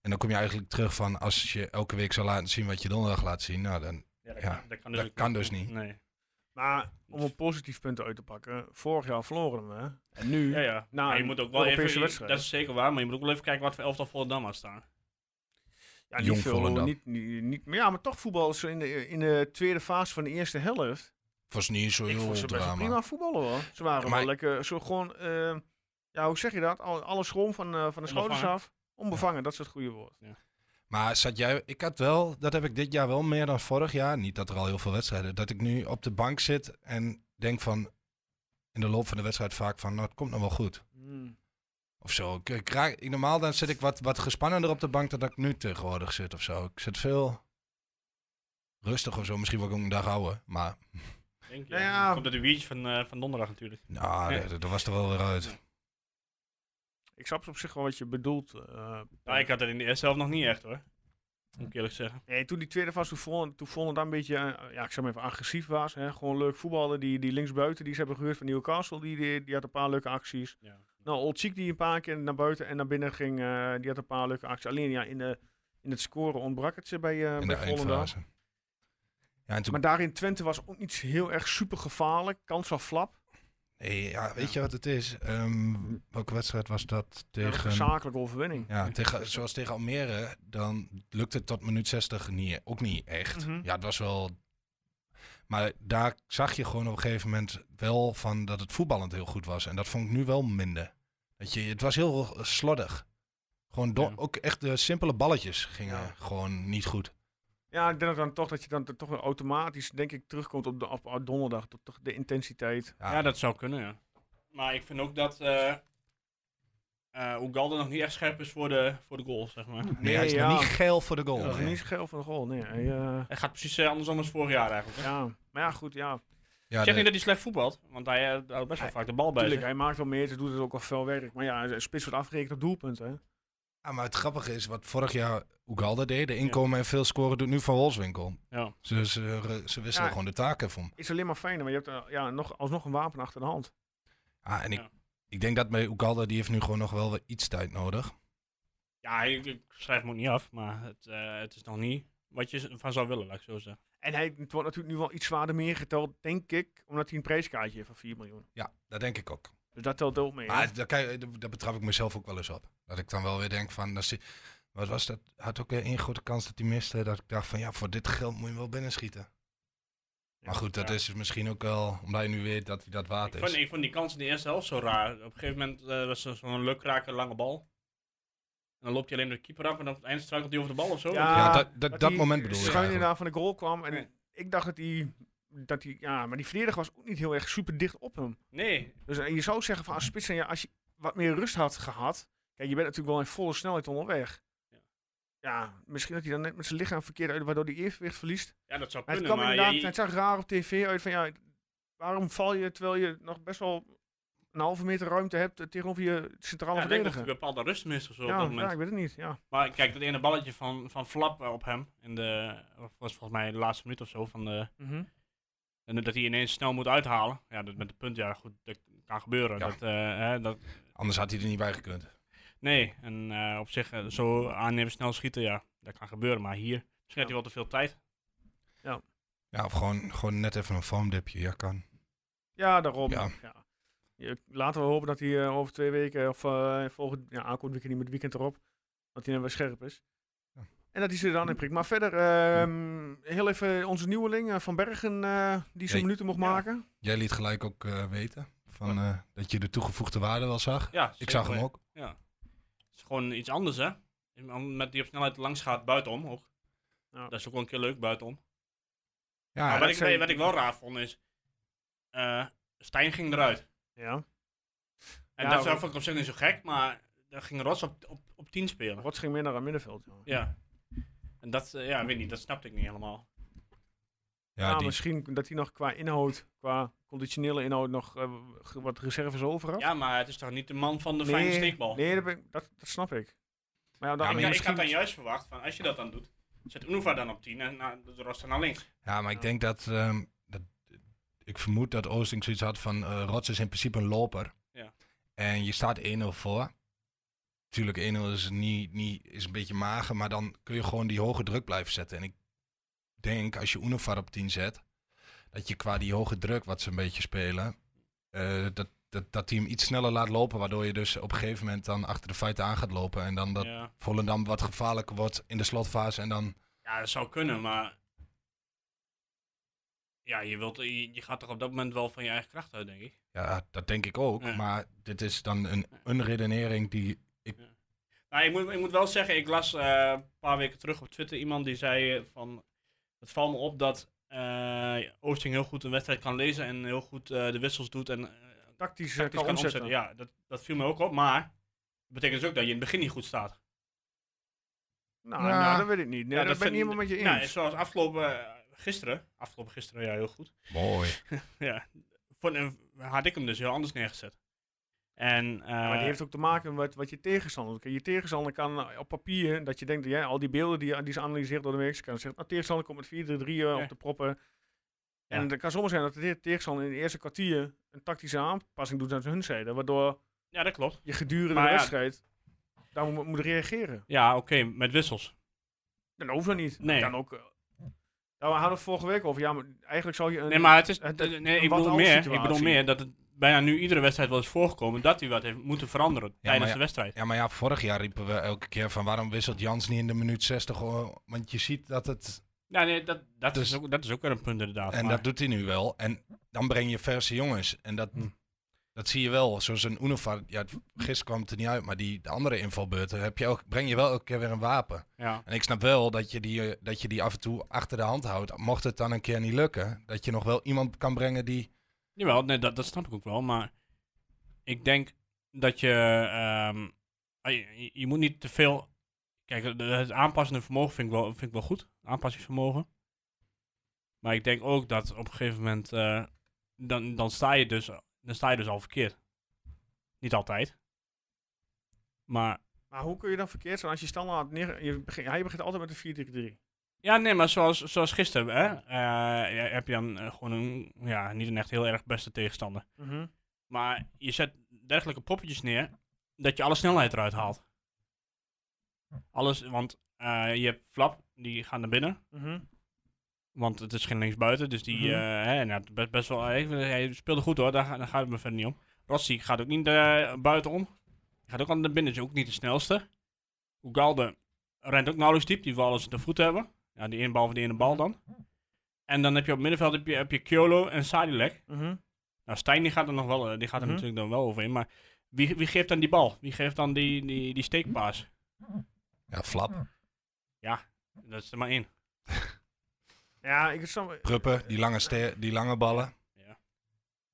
S4: en dan kom je eigenlijk terug van als je elke week zou laten zien wat je donderdag laat zien. Nou, dan,
S5: ja, dat,
S4: ja,
S5: kan, dat kan dus,
S4: dat
S5: ook
S4: kan dus niet.
S5: Nee.
S1: Maar om een positief punt uit te pakken, vorig jaar verloren we. hè? En nu,
S5: Ja, ja.
S1: Nou,
S5: maar je
S1: een
S5: moet ook wel
S1: Europese
S5: even,
S1: wedstrijd.
S5: dat is zeker waar, maar je moet ook wel even kijken wat voor elftal Volendam had staan.
S1: Ja, niet
S4: Jong
S1: veel.
S4: Volendam.
S1: Niet, niet, niet, maar ja, maar toch voetbal is in de, in de tweede fase van de eerste helft.
S4: was niet zo
S1: Ik
S4: heel
S1: vond ze best wel
S4: drama.
S1: prima voetballen hoor. Ze waren
S4: Ja, maar-
S1: wel lekker, zo gewoon, eh, ja hoe zeg je dat? Al- Alle schroom van, eh, van de schouders
S5: Onbevangen.
S1: af. Onbevangen, dat is het goede woord.
S4: Maar zat jij, ik had wel, dat heb ik dit jaar wel meer dan vorig jaar. Niet dat er al heel veel wedstrijden, dat ik nu op de bank zit en denk van in de loop van de wedstrijd vaak van, nou het komt nog wel goed.
S5: Hmm.
S4: Of zo. Ik, ik raak, ik- normaal dan zit ik wat, wat gespannender op de bank dan dat ik nu tegenwoordig zit of zo. Ik zit veel rustig of zo. Misschien wil ik ook een dag houden. Maar
S5: Denk je?
S1: Nou ja.
S5: Komt uit de biertje van, eh, van donderdag natuurlijk.
S4: nou,
S5: Ja.
S4: dat, dat was er wel weer uit.
S1: Ik snap op zich wel wat je bedoelt. eh,
S5: Ja, ik had het in de eerste helft nog niet echt hoor. Moet ik eerlijk zeggen.
S1: Nee, toen die tweede fase, toen Vollen- toen Volendam een beetje, eh, ja, ik zeg maar even agressief was. Hè. Gewoon leuk voetballen. Die, die linksbuiten die ze hebben gehuurd van Newcastle, die, die, die had een paar leuke acties.
S5: Ja.
S1: Nou, Old Cheek die een paar keer naar buiten en naar binnen ging, eh, die had een paar leuke acties. Alleen ja, in, de, in het scoren ontbrak het ze bij, eh
S4: in de
S1: bij Volendam.
S4: eindfase. Ja, en toen,
S1: Maar daarin Twente was ook niet heel erg super gevaarlijk. Kans van Flap.
S4: nee, ja, weet je wat het is? Ehm, welke wedstrijd was dat
S1: Dat was een
S4: tegen...
S1: zakelijke overwinning.
S4: Ja, tegen, zoals tegen Almere, dan lukte het tot minuut 60 niet, ook niet echt.
S1: Mhm.
S4: Ja, het was wel... Maar daar zag je gewoon op een gegeven moment wel van dat het voetballend heel goed was. En dat vond ik nu wel minder. Dat je, het was heel slordig. Gewoon do-
S5: Ja.
S4: ook echt de simpele balletjes gingen
S1: Ja.
S4: gewoon niet goed.
S1: Ja, ik denk dat dan toch dat je dan toch weer automatisch, denk ik, terugkomt op, de, op, op donderdag. Tot toch de intensiteit.
S4: Ja.
S5: Ja, dat zou kunnen, ja. Maar ik vind ook dat eh eh, Ugalde nog niet echt scherp is voor de, voor de goal, zeg maar.
S4: Nee, hij is nog niet geil voor de goal.
S1: Dat is
S4: nee.
S1: niet geel van de goal. Nee, hij, eh,
S5: Hij gaat precies eh, andersom als vorig jaar eigenlijk. hè.
S1: ja. Maar ja, goed, ja.
S4: Ja,
S5: Ik zeg
S4: de-
S5: niet dat hij slecht voetbalt, want hij eh, houdt best wel vaak de bal bij
S1: Tuurlijk,
S5: zich.
S1: hij maakt wel meer, ze doet het ook al veel werk. Maar ja, een spits wordt afgerekend op doelpunten. Hè?
S4: Ja, maar het grappige is, wat vorig jaar Ugalde deed, de inkomen en veel scoren, doet nu Van Wolfswinkel.
S5: Ja.
S4: Ze, ze, ze wisselen
S1: Ja.
S4: gewoon de taken van.
S1: Is alleen maar fijner, maar je hebt eh, ja, nog, alsnog een wapen achter de hand.
S4: Ah, en ik,
S5: Ja.
S4: ik denk dat bij Ugalde, die heeft nu gewoon nog wel weer iets tijd nodig.
S5: Ja, ik, ik schrijf hem ook niet af, maar het, eh, het is nog niet wat je z- van zou willen, laat ik zo zeggen.
S1: En hij het wordt natuurlijk nu wel iets zwaarder meegeteld, denk ik, omdat hij een prijskaartje heeft van 4 miljoen.
S4: Ja, dat denk ik ook.
S1: Dus dat telt ook mee. hè?
S4: Maar daar, kan je- daar betrap ik mezelf ook wel eens op. Dat ik dan wel weer denk van, dat zie- wat was dat? Had ook weer één grote kans dat hij miste, dat ik dacht van, ja, voor dit geld moet je hem wel binnenschieten. Maar goed, dat
S5: ja.
S4: is dus misschien ook wel, omdat je nu weet dat hij dat waard
S5: Ik
S4: is.
S5: vond, ik vond die kans in de eerste helft zo raar. Op een gegeven moment eh, was er zo'n lukraker lange bal. En dan loopt hij alleen door de keeper af en dan op het eind struikelt hij over de bal of zo.
S4: ja, dat- dat- dat
S1: hij
S4: moment bedoel ik
S1: schuin
S4: eigenlijk.
S1: inderdaad van de goal kwam en
S5: Nee.
S1: ik dacht dat hij, dat hij, ja, maar die verdediger was ook niet heel erg super dicht op hem.
S5: Nee,
S1: Dus eh, je zou zeggen van als spits, ja, als je wat meer rust had gehad. Kijk, je bent natuurlijk wel in volle snelheid onderweg.
S5: Ja.
S1: Ja, misschien dat hij dan net met zijn lichaam verkeerd uit, waardoor hij evenwicht verliest.
S5: ja, dat zou
S1: Maar het
S5: kunnen,
S1: kwam
S5: Oh, maar
S1: inderdaad,
S5: je- je-
S1: het zag raar op tv uit van ja, waarom val je terwijl je nog best wel een halve meter ruimte hebt eh, tegenover je centrale
S5: ja, ik denk
S1: verdediger?
S5: dat hij een bepaalde rust mist of zo op
S1: Ja,
S5: dat
S1: ja,
S5: moment.
S1: ik weet het niet. Ja.
S5: Maar kijk, dat ene balletje van, van Flap op hem, in de, was volgens mij de laatste minuut of zo, van de,
S1: Mhm.
S5: en dat hij ineens snel moet uithalen. Ja, dat met de punt, ja goed, dat kan gebeuren.
S4: Ja.
S5: Dat, eh, hè, dat,
S4: Anders had hij er niet bij gekund.
S5: nee, en eh, op zich eh, zo aannemen, snel schieten, ja, dat kan gebeuren. Maar hier, misschien had hij wel te veel tijd.
S4: Ja, of gewoon, gewoon net even een foamdipje, ja kan.
S1: ja, daarom.
S4: Ja.
S1: Ja. Je- laten we hopen dat hij eh, over twee weken of eh, volgend ja, aankomend weekend, niet met het weekend erop, dat hij dan weer scherp is.
S4: Ja.
S1: En dat hij ze er dan in prikt. Maar verder, ehm, heel even onze nieuweling eh, Van Bergen, eh, die zijn
S4: Hey.
S1: minuten mocht
S5: Ja.
S1: maken.
S4: Jij liet gelijk ook eh, weten van, eh, dat je de toegevoegde waarde wel zag.
S5: Ja,
S4: Ik
S5: zeker
S4: zag hem
S5: weten.
S4: ook.
S5: Ja. Het is gewoon iets anders, hè? Met die op snelheid langs gaat buitenom ook.
S1: Ja.
S5: Dat is ook wel een keer leuk buitenom.
S4: Ja,
S5: maar wat
S1: dat
S5: ik,
S1: zijn-
S5: wat ik wel raar vond is. eh, Stijn ging eruit.
S1: Ja.
S5: En
S1: Ja,
S5: dat
S1: maar-
S5: vond ik op zich niet zo gek, maar. Dat ging Rots op, op, op 10 spelen.
S1: Rots ging meer naar het middenveld. Ja.
S5: Ja. En dat, eh, ja, weet niet, dat snapte ik niet helemaal.
S4: ja,
S1: Ja,
S4: die-
S1: misschien dat hij nog qua inhoud, qua conditionele inhoud, nog eh, ge- wat reserves over had.
S5: Ja, maar het is toch niet de man van de fijne steekbal?
S1: Nee, dat, ben ik- dat, dat snap ik. Maar ja, dan,
S4: Ja,
S5: ik,
S4: maar
S5: ik had
S1: misschien...
S5: dan juist verwacht, van, als je dat dan doet, zet Unuva dan op 10 en nou, doet Rots dan naar links.
S4: ja, maar ik denk dat, ehm, dat... Ik vermoed dat Oosting zoiets had van... eh Rots is in principe een loper.
S5: Ja.
S4: En je staat 1-0 voor. Tuurlijk, 1-0 is, niet, niet, is een beetje mager. Maar dan kun je gewoon die hoge druk blijven zetten. En ik denk, als je Unovar op 10 zet... Dat je qua die hoge druk, wat ze een beetje spelen... eh, dat, dat, dat hij hem iets sneller laat lopen. Waardoor je dus op een gegeven moment dan achter de feiten aan gaat lopen. En dan dat
S5: Ja.
S4: Volendam wat gevaarlijker wordt in de slotfase. En dan...
S5: ja, dat zou kunnen, maar... Ja, je, wilt, je, je gaat toch op dat moment wel van je eigen kracht uit, denk ik.
S4: Ja, dat denk ik ook.
S5: Ja.
S4: Maar dit is dan een, een redenering die.
S5: Nou, ik, moet, ik moet wel zeggen, ik las eh, een paar weken terug op Twitter iemand die zei eh, van... Het valt me op dat eh Oosting heel goed een wedstrijd kan lezen en heel goed eh, de wissels doet en eh,
S1: Tactisch, eh,
S5: tactisch
S1: kan
S5: kan
S1: omzetten.
S5: omzetten. Ja, dat, dat viel me ook op. Maar dat betekent dus ook dat je in het begin niet goed staat.
S1: Nou,
S4: Ja.
S1: nou, dat weet ik niet. Nee,
S5: Ja,
S1: dat, ben ik niet
S5: vind-
S1: helemaal met je
S5: Nou,
S1: eens.
S5: zoals afgelopen eh, gisteren. Afgelopen gisteren, ja, heel goed.
S4: Mooi.
S5: Ja, vond, eh, had ik hem dus heel anders neergezet. En, eh,
S1: maar die heeft ook te maken met wat je tegenstander. Kijk, je tegenstander kan eh, op papier, dat je denkt dat jij al die beelden die, die ze analyseert door de week, ze kan zeggen, nou, tegenstander komt met 4-3 eh,
S5: Ja.
S1: op de proppen. En
S5: Ja.
S1: het kan zomaar zijn dat de te- tegenstander in de eerste kwartier een tactische aanpassing doet aan hun zijde, waardoor
S5: ja, dat klopt.
S1: je gedurende
S5: Maar
S1: de
S5: ja.
S1: wedstrijd daar moet, moet reageren.
S5: Ja, oké, met wissels.
S1: Dat hoeft dat niet.
S5: Nee.
S1: Dat kan ook... eh, nou, we hadden het vorige week over, ja, maar eigenlijk zou je een...
S5: Nee, maar het is.
S1: het-
S5: eh, nee,
S1: een
S5: ik, bedoel
S1: wat-als
S5: meer, ik
S1: situatie.
S5: bedoel meer dat het bijna nu iedere wedstrijd wel is voorgekomen dat hij wat heeft moeten veranderen tijdens
S4: ja.
S5: de wedstrijd.
S4: Ja, maar ja, vorig jaar riepen we elke keer van waarom wisselt Jans niet in de minuut 60? hoor? Want je ziet dat het...
S5: Ja, nee, dat, dat,
S4: Dus-
S5: is, ook, dat is ook weer een punt inderdaad.
S4: En
S5: maar-
S4: dat doet hij nu wel. En dan breng je verse jongens. En dat, dat zie je wel. Zoals een Unifar, ja, gisteren kwam het er niet uit, maar die de andere invalbeurten heb je elke- breng je wel elke keer weer een wapen.
S5: ja.
S4: En ik snap wel dat je, die, eh, dat je die af en toe achter de hand houdt. Mocht het dan een keer niet lukken, dat je nog wel iemand kan brengen die...
S5: Jawel, nee, dat, dat snap ik ook wel. Maar ik denk dat je. ehm, ah, je- je, je moet niet te veel. Kijk, het- het aanpassende vermogen vind ik wel, vind ik wel goed. Aanpassingsvermogen. Maar ik denk ook dat op een gegeven moment. eh, dan, dan, sta je dus, dan sta je dus al verkeerd. Niet altijd. Maar.
S1: Maar hoe kun je dan verkeerd zijn als je standaard... Neer, je begint, hij begint altijd met een 4-3-3.
S5: Ja, nee, maar zoals, zoals gisteren, hè, eh, ja, heb je dan eh, gewoon een, ja, niet een echt heel erg beste tegenstander.
S1: Mhm.
S5: Maar je zet dergelijke poppetjes neer dat je alle snelheid eruit haalt. Alles, want eh, je hebt Flap, die gaat naar binnen.
S1: Mhm.
S5: Want het is geen linksbuiten, dus die
S1: Mhm.
S5: eh, hè, nou, het best, best wel. Hij, hij speelde goed hoor, daar, ga- daar gaat het me verder niet om. Rossi gaat ook niet eh, buiten om. Die gaat ook aan de binnen, is ook niet de snelste. Ugalde rent ook nauwelijks diep, die wil alles te voet hebben. Ja, die ene bal van die ene bal dan. En dan heb je op middenveld heb je, heb je Kyolo en Sadilek.
S1: Mhm.
S5: Nou, Stijn die gaat er nog wel, eh, die gaat er
S1: Mhm.
S5: natuurlijk dan wel over in. Maar wie, wie geeft dan die bal? Wie geeft dan die, die, die steekpaas?
S4: Ja, flap.
S5: Dat is er maar één.
S1: Ja, ik snap...
S4: Pruppen, die lange, ste- die lange ballen.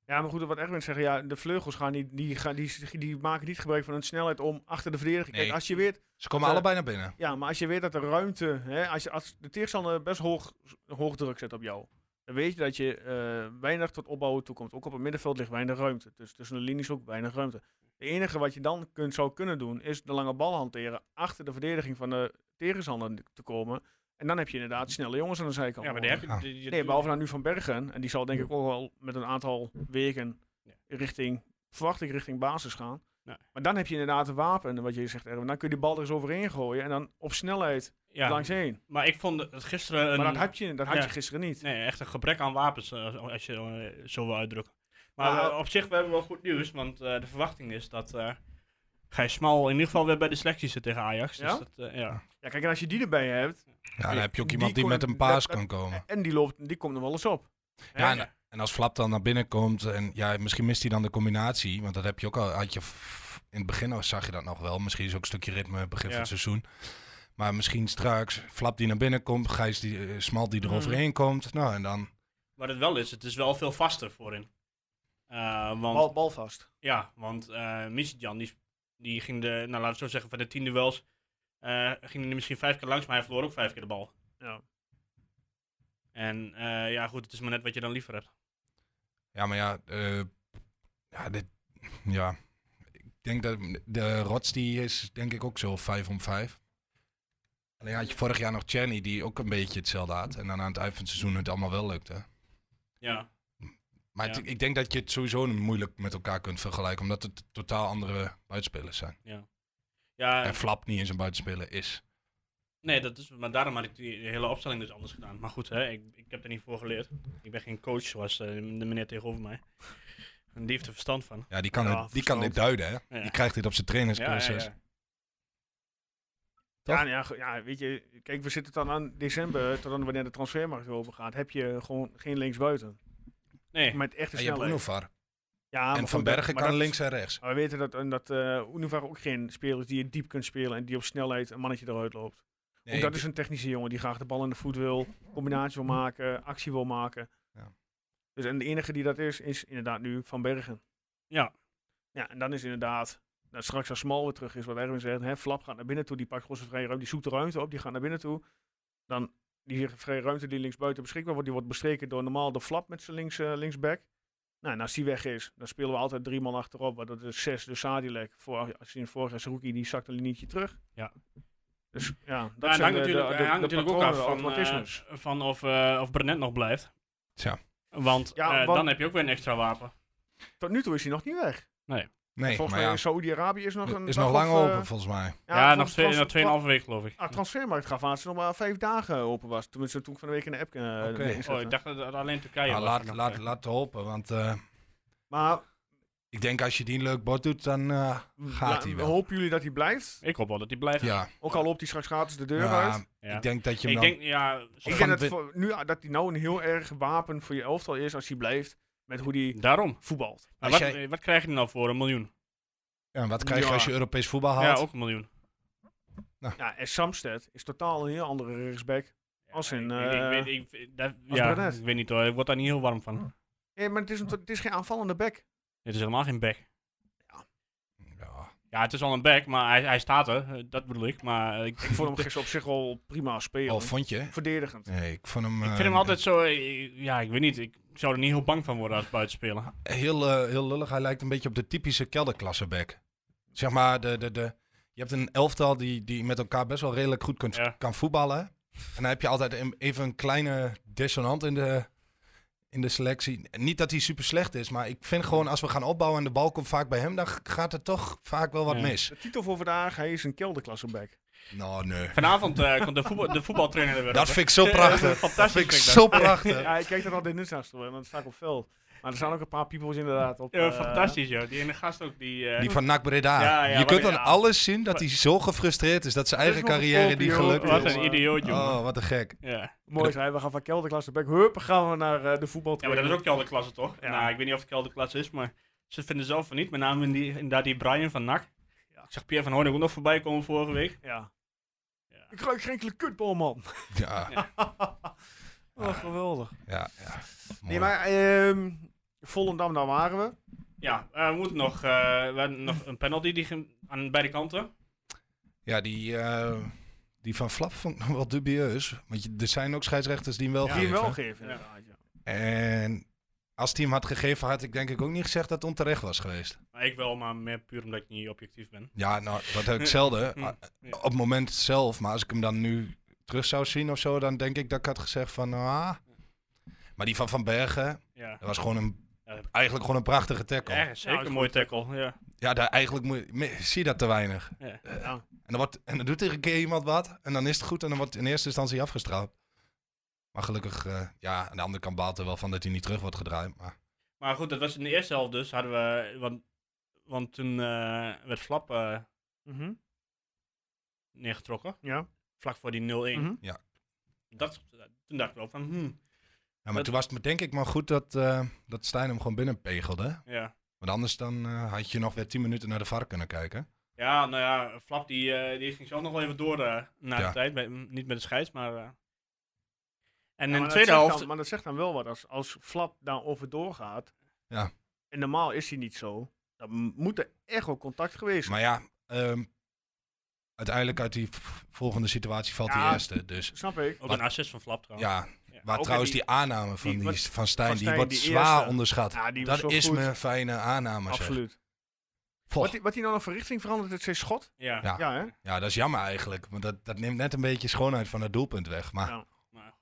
S1: Ja, maar goed, wat Erwin zegt, ja, de vleugels gaan niet, die, gaan, die, die maken niet gebruik van hun snelheid om achter de verdediger. Kijk,
S4: Nee.
S1: als je weet,
S4: Ze komen
S1: Eh,
S4: allebei naar binnen.
S1: ja, maar als je weet dat de ruimte, hè, als, je, als de tegenstander best hoog, hoog druk zet op jou, dan weet je dat je eh, weinig tot opbouwen toekomt. Ook op het middenveld ligt weinig ruimte. Dus tussen de linies ook weinig ruimte. Het enige wat je dan kunt, zou kunnen doen, is de lange bal hanteren, achter de verdediging van de tegenstander te komen. En dan heb je inderdaad snelle jongens aan de zijkant.
S5: Ja, maar die heb je.
S4: Ah.
S5: die- die-
S1: Nee, behalve dan nu van Bergen. En die zal denk ik ook wel met een aantal weken
S5: Ja.
S1: richting, verwacht ik, richting basis gaan.
S5: Ja.
S1: Maar dan heb je inderdaad een wapen, wat je zegt, Erwin. Dan kun je die bal er eens overheen gooien en dan op snelheid
S5: ja,
S1: langs heen.
S5: Maar ik vond het gisteren. Een,
S1: Maar dat had je, dat had
S5: ja.
S1: je gisteren niet.
S5: Nee, echt een gebrek aan wapens, eh, als je eh, zo wil uitdrukken. Maar
S1: Nou,
S5: eh, op zich, we hebben wel goed nieuws, want eh, de verwachting is dat eh Gijs Smal in ieder geval weer bij de selectie zit tegen Ajax.
S1: Ja?
S5: Dus dat, eh, ja.
S1: Ja, kijk, en als je die erbij hebt,
S4: Ja, dan heb je ook
S1: die
S4: iemand die,
S1: kon-
S4: met een
S1: dat-
S4: paas
S1: dat-
S4: kan komen.
S1: en die, loopt, die komt er wel eens op. Hè?
S4: Ja, en, en als Flap dan naar binnen komt en ja, misschien mist hij dan de combinatie. Want dat heb je ook al, had je f- in het begin al zag je dat nog wel. Misschien is ook een stukje ritme begin
S5: Ja.
S4: van het seizoen. Maar misschien straks Flap die naar binnen komt, Gijs die, eh, Smalt die
S1: Mhm.
S4: eroverheen komt. Nou, en dan
S5: Wat het wel is, het is wel veel vaster voorin. Eh, want
S1: Bal, bal vast.
S5: Ja, want eh Misitjan, die, die ging de, nou laten we het zo zeggen, van de tien duels, eh, ging hij misschien vijf keer langs, maar hij verloor ook vijf keer de bal.
S1: Ja.
S5: En eh, ja, goed, het is maar net wat je dan liever hebt.
S4: Ja, maar ja, eh, ja, dit, ja, ik denk dat de Rots die is denk ik ook zo 5 om 5. Alleen had je vorig jaar nog Channy die ook een beetje hetzelfde had. En dan aan het eind van het seizoen het allemaal wel lukte.
S5: Ja,
S4: Maar het-
S5: Ja.
S4: ik denk dat je het sowieso moeilijk met elkaar kunt vergelijken. Omdat het totaal andere buitenspelers zijn.
S5: ja
S4: en Flap niet eens een buitenspeler is.
S5: nee, dat is, maar daarom had ik die, die hele opstelling dus anders gedaan. Maar goed, hè, ik, ik heb er niet voor geleerd. Ik ben geen coach, zoals eh, de meneer tegenover mij. En die heeft er verstand van.
S4: Ja, die kan,
S1: Ja,
S4: het, die kan dit duiden hè.
S5: Ja.
S4: Die krijgt dit op zijn trainerscursus.
S1: Ja,
S4: Toch?
S1: nou ja, ge- ja, weet je, kijk, we zitten dan aan december, tot aan wanneer de transfermarkt weer open gaat, heb je gewoon geen linksbuiten.
S5: Nee,
S1: Met echte
S4: Ja, je hebt
S1: snelheid.
S4: Unovar.
S1: Ja, maar
S4: En Van
S1: goed,
S4: Bergen
S1: maar dat-
S4: kan
S1: Oh,
S4: links en rechts.
S1: Maar we weten dat, en dat eh Univar ook geen speler is die je diep kunt spelen en die op snelheid een mannetje eruit loopt.
S4: Nee,
S1: ook dat
S4: ik-
S1: is een technische jongen die graag de bal in de voet wil, combinatie wil maken, actie wil maken.
S4: Ja.
S1: Dus en de enige die dat is, is inderdaad nu Van Bergen.
S5: Ja.
S1: Ja, en dan is inderdaad, nou, straks als Smal weer terug is, wat Erwin zegt, hè, Flap gaat naar binnen toe, die pakt gewoon zijn vrije ruimte, die zoekt de ruimte op, die gaat naar binnen toe. Dan die vrije ruimte die linksbuiten beschikbaar wordt, die wordt bestreken door normaal de Flap met zijn links, eh, linksback. Nou, en als die weg is, dan spelen we altijd drie man achterop. Waardoor de zes de Sadilek. Voor, als je in vorig jaar is rookie, die zakt een linietje terug.
S5: Ja.
S1: Dus ja,
S5: Dat
S1: dat zijn
S5: hangt
S1: de,
S5: natuurlijk,
S1: de,
S5: hij
S1: de,
S5: hangt
S1: de
S5: natuurlijk ook af
S1: patronen, de
S5: van,
S1: automatismes.
S5: eh, van of, eh of Brenet nog blijft.
S4: Tja.
S5: Want,
S1: Ja,
S5: eh,
S1: want-
S5: dan heb je ook weer een extra wapen.
S1: Tot nu toe is hij nog niet weg.
S4: Nee,
S1: Volgens
S4: maar
S1: mij
S4: ja,
S1: is Saudi-Arabië is nog
S4: het
S1: een
S4: is
S1: dag
S4: nog lang
S1: of, eh,
S4: open volgens mij.
S5: Ja,
S1: van
S5: nog twee-
S1: trans-
S5: nog 2,5 weken geloof ik.
S1: Ah, transfermarkt gaf aan dat ze nog maar vijf dagen open was. Tenminste, toen ik van de week in de app eh
S4: Oké.
S1: neerzette.
S5: Oh, ik dacht dat dat alleen Turkije
S4: Ja,
S5: was.
S4: laat, laat, laat hopen, want eh,
S1: Maar
S4: ik denk als je die een leuk bord doet, dan eh, gaat
S1: la-
S4: hij wel.
S1: hopen jullie dat hij blijft?
S5: Ik hoop wel dat die blijft.
S4: Ja,
S1: Ook al loopt hij straks gratis de deur
S4: ja,
S1: uit.
S5: Ja.
S4: ik denk dat je hem
S5: Ik
S4: dan...
S5: denk, ja,
S1: Ik
S4: van
S1: denk dat,
S4: de-
S1: voor- nu, ah, dat hij nou een heel erg wapen voor je elftal is als hij blijft met hoe hij
S5: daarom.
S1: voetbalt.
S5: Maar
S4: Als
S5: wat,
S4: jij-
S5: eh, wat krijg je er nou voor? Een miljoen?
S4: Ja, wat krijg je als je
S1: Ja.
S4: Europees voetbal haalt?
S5: Ja, ook een miljoen.
S1: Ja, en Samsted is totaal een heel andere rechtsback. Als in,
S5: Ja, ik- ik
S1: eh,
S5: weet- ik- ik- dat-
S1: als Hm.
S5: ja,
S1: Brenet.
S5: ik weet niet hoor, ik word daar niet heel warm van.
S1: Nee, Eh, maar het is, een, het is geen aanvallende back.
S5: Dit is helemaal geen back.
S4: Ja.
S5: Ja, het is al een back, maar hij, hij staat er. eh, Dat bedoel ik. Maar eh, ik,
S1: Ik vond hem gisteren op zich wel prima spelen.
S4: Oh, vond je?
S1: Verdedigend.
S4: Nee, ik vond hem,
S5: ik
S4: eh,
S5: vind hem altijd zo... eh, Ja, ik weet niet. Ik zou er niet heel bang van worden als buitenspeler.
S4: heel, eh, heel lullig. Hij lijkt een beetje op de typische kelderklasseback. Zeg maar, de, de, de, je hebt een elftal die, die met elkaar best wel redelijk goed kunt,
S5: Ja.
S4: kan voetballen. En dan heb je altijd een- even een kleine dissonant in de, in de selectie. En Niet dat hij super slecht is, maar ik vind gewoon als we gaan opbouwen en de bal komt vaak bij hem, dan g- gaat er toch vaak wel wat
S5: Ja.
S4: mis.
S1: De titel voor vandaag, hij is een kelderklasse back.
S4: Nou, nee.
S5: Vanavond eh, komt de, voetbal, de voetbaltrainer er weer
S4: Dat
S5: op, hè. Eh,
S4: vind ik zo prachtig.
S5: Fantastisch
S4: Dat vind ik
S5: vind ik
S4: zo prachtig.
S1: Ja, ik kijk er altijd niet naast toe, want het staat op veld. Maar er staan ook een paar people's inderdaad op.
S5: Ja,
S1: eh,
S5: fantastisch, joh. Die ene gast ook, die... eh,
S4: Die van NAC Breda.
S5: Ja, ja,
S4: je
S5: wat-
S4: kunt aan
S5: ja.
S4: alles zien dat hij zo gefrustreerd is dat zijn eigen
S1: nog een
S4: carrière
S1: kopie,
S4: niet
S1: hoor.
S4: gelukt
S5: Oh, wat
S4: is.
S1: Wat
S5: een idioot, joh.
S4: Oh, wat een gek.
S5: Ja.
S1: Mooi zijn, we gaan van kelderklasse back. Hup, gaan we naar eh, de voetbal.
S5: ja, maar dat is ook kelderklasse, toch?
S1: Ja.
S5: Nou, ik weet niet of het kelderklasse is, maar ze vinden zelf van niet. Met name in die, inderdaad die Brian van NAC.
S1: Ja.
S5: Ik zag Pierre van Hoorn ook nog voorbij komen vorige week.
S1: Ja.
S5: Ja.
S1: Ik ruik geen enkele kutbal, man.
S4: Ja, ja.
S1: Oh, geweldig.
S4: ja,
S1: Nee,
S4: Mooi.
S1: maar ehm Volendam, daar waren we.
S5: Ja, eh, we moeten nog, eh, we hebben nog een penalty die ging aan beide kanten.
S4: ja die, eh, die van Flap vond ik nog wel dubieus. Want je, er zijn ook scheidsrechters die hem wel
S5: Ja.
S1: Die
S4: geven.
S1: wel geven, inderdaad. Ja.
S4: en als die hem had gegeven, had ik denk ik ook niet gezegd dat het onterecht was geweest.
S5: Maar ik wel, maar meer puur omdat ik niet objectief ben.
S4: Ja, nou, dat heb ik zelden.
S5: Hm.
S4: Ah, Op het moment zelf. Maar als ik hem dan nu terug zou zien of zo, dan denk ik dat ik had gezegd van... Ah. Maar die van Van Bergen,
S5: Ja,
S4: dat was gewoon een...
S5: Ja.
S4: Eigenlijk gewoon een prachtige tackle.
S5: ja zeker een mooie tackle. Ja.
S4: Ja, daar eigenlijk moet je, me- zie je dat te weinig.
S5: Ja.
S4: Eh,
S1: Oh.
S4: en, dan wordt, en dan doet er een keer iemand wat. En dan is het goed. En dan wordt in eerste instantie afgestraft. Maar gelukkig, eh, ja, aan de andere kant baalt er wel van dat hij niet terug wordt gedraaid. Maar
S5: Maar goed, dat was in de eerste helft dus. Hadden we, want, want toen eh, werd Flap eh,
S1: Mhm,
S5: neergetrokken.
S1: ja.
S5: Vlak voor die 0-1.
S1: mhm.
S5: dat, toen dacht ik wel van, hmm,
S4: ja, maar
S5: Dat-
S4: toen was het me denk ik maar goed dat, eh, dat Stijn hem gewoon binnenpegelde.
S5: ja.
S4: Want anders dan eh, had je nog weer 10 minuten naar de VAR kunnen kijken.
S5: Ja, nou ja, Flap die, eh, die ging zelf nog wel even door eh, na
S4: Ja.
S5: de tijd. Bij- niet met de scheids, maar... eh. En
S1: Ja,
S5: in
S1: maar
S5: de
S1: dat
S5: tweede
S1: zegt
S5: helft...
S1: dan- maar dat zegt dan wel wat. Als, als Flap daarover doorgaat.
S4: Ja.
S1: En normaal is hij niet zo. Dan m- moet er echt wel contact geweest zijn.
S4: Maar ja, ehm, uiteindelijk uit die v- volgende situatie valt
S1: Ja.
S4: die eerste. Dus
S1: Snap ik.
S5: Ook
S4: Wat-
S5: een assist van Flap trouwens.
S4: ja,
S5: Ja.
S4: waar
S1: Ook
S4: trouwens
S1: die-
S4: die, aanname van,
S1: die-
S4: die,
S1: wat-
S4: van Stijn,
S1: van Stijn,
S4: die wordt
S1: die
S4: zwaar
S1: eerste.
S4: onderschat.
S1: Ja, die was
S4: Dat
S1: zo
S4: is
S1: goed.
S4: mijn fijne aanname. zeg.
S1: Absoluut.
S4: Poh,
S1: Wat hij wat die nou nog van richting verandert, het is schot.
S5: Ja.
S4: Ja.
S1: Ja, hè?
S4: ja, dat is jammer eigenlijk. Want dat, dat neemt net een beetje schoonheid van het doelpunt weg. Maar
S1: Ja.
S5: Maar,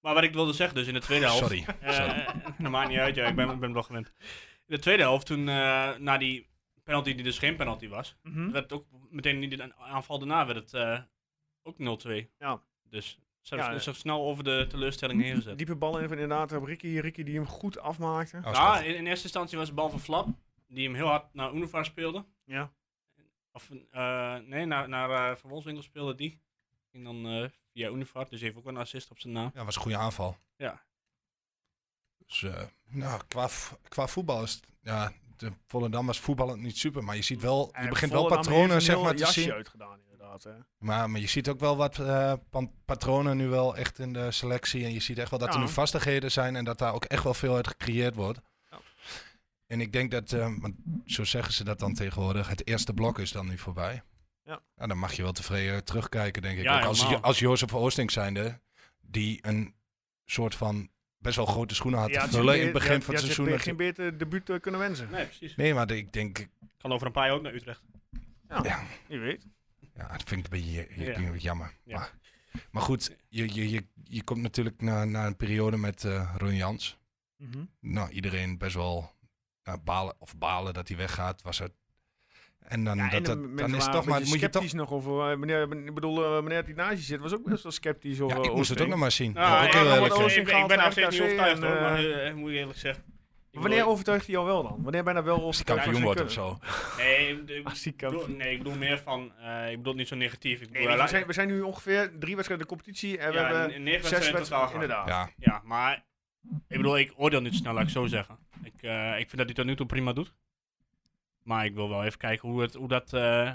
S5: maar wat ik wilde zeggen dus, in de tweede helft...
S4: sorry.
S5: Eh, dat maakt niet uit, ja, ik ben, ik ben wel gewend. In de tweede helft, toen eh, na die penalty die dus geen penalty was,
S1: Mhm.
S5: werd het ook meteen in de aanval daarna werd het eh, ook 0-2.
S1: Ja.
S5: Dus ze
S1: Ja,
S5: hebben
S1: ja.
S5: zo snel over de teleurstelling heen gezet.
S1: Diepe ballen van inderdaad op Ricky. Ricky die hem goed afmaakte.
S4: Oh,
S5: ja,
S4: sorry.
S5: Ah, in, in eerste instantie was de bal van Flap, die hem heel hard naar Unova speelde.
S1: Ja.
S5: Of eh, nee, naar, naar eh, Van Wolfswinkel speelde die. En dan eh, via Unova, dus heeft ook wel een assist op zijn naam.
S4: Ja, was een goede aanval.
S5: Ja.
S4: Dus, eh, nou, qua, v- qua voetbal is het- ja, de Volendam was voetballend niet super. Maar je ziet wel, je
S1: En
S4: begint wel
S1: Volendam heeft
S4: patronen
S1: een
S4: zeg
S1: heel
S4: maar, te
S1: jasje
S4: zien.
S1: uitgedaan inderdaad. Hè.
S4: Maar, maar je ziet ook wel wat eh, pan- patronen nu wel echt in de selectie. En je ziet echt wel dat er
S1: Ja.
S4: nu vastigheden zijn en dat daar ook echt wel veel uit gecreëerd wordt.
S1: Ja.
S4: En ik denk dat, eh, want zo zeggen ze dat dan tegenwoordig, het eerste blok is dan nu voorbij.
S1: Ja.
S4: Nou, dan mag je wel tevreden terugkijken, denk ik.
S5: Ja,
S4: ook als,
S5: helemaal.
S4: als Jozef Oostink zijnde, die een soort van best wel grote schoenen had
S1: Ja,
S4: te vullen in
S1: je-
S4: het begin
S1: je-
S4: van het
S1: je had
S4: seizoen.
S1: geen beter debuut eh, kunnen wensen.
S5: Nee, precies.
S4: Nee, maar ik denk,
S5: Kan over een paar jaar ook naar
S1: Ah,
S5: Utrecht.
S4: ja,
S1: Je weet.
S4: ja, dat vind ik een beetje je- je-
S5: Ja.
S4: een beetje jammer.
S5: Ja.
S4: Maar, maar goed, je, je, je, je komt natuurlijk na, na een periode met eh Ron Jans.
S1: Mhm.
S4: Nou, iedereen best wel nou, balen, of balen dat hij weggaat. Was het. En dan,
S1: Ja, en
S4: dat,
S1: de
S4: dat-
S1: mensen
S4: dan is
S1: waren
S4: toch
S1: een
S4: maar,
S1: beetje
S4: moet je toch,
S1: sceptisch nog over. eh, meneer, ik bedoel, eh, meneer die naast je zit was ook best wel sceptisch over.
S4: ja, ik moest het ook nog maar zien.
S5: Nou,
S4: Moet ik
S1: ook
S5: ik,
S4: heel
S1: wel
S5: ik-
S4: eerlijk eh,
S1: wat
S4: zijn.
S1: over-
S5: ik, ik ben
S1: overgehaald
S5: nog steeds niet
S1: naar
S5: overtuigd
S1: RKC en,
S5: hoor, maar
S1: eh,
S5: eh, moet ik eerlijk zeggen. Ik
S1: Wanneer
S5: bedoel,
S1: overtuigt hij jou wel dan? Wanneer ben je nou wel
S4: Als hij
S1: overtuigd
S4: kampioen
S1: van
S4: wordt
S1: zijn
S4: of
S1: kunnen?
S4: zo.
S5: Nee, ik bedoel-
S1: Als hij
S5: ik
S1: kampioen
S5: bedoel- nee, ik bedoel meer van, eh, ik bedoel niet zo negatief. Ik
S1: Nee,
S5: bedoel,
S1: nee, we,
S5: laat-
S1: zijn, we zijn nu ongeveer drie wedstrijden de competitie en we
S5: ja,
S1: hebben
S5: negen
S1: zes
S5: wedstrijden in totaal
S1: wedstrijden.
S5: gehad.
S1: Inderdaad.
S4: Ja,
S5: Ja, maar ik bedoel, ik oordeel niet snel, laat ik zo zeggen. Ik, eh, ik vind dat hij tot nu toe prima doet. Maar ik wil wel even kijken hoe, het, hoe, dat, eh, hoe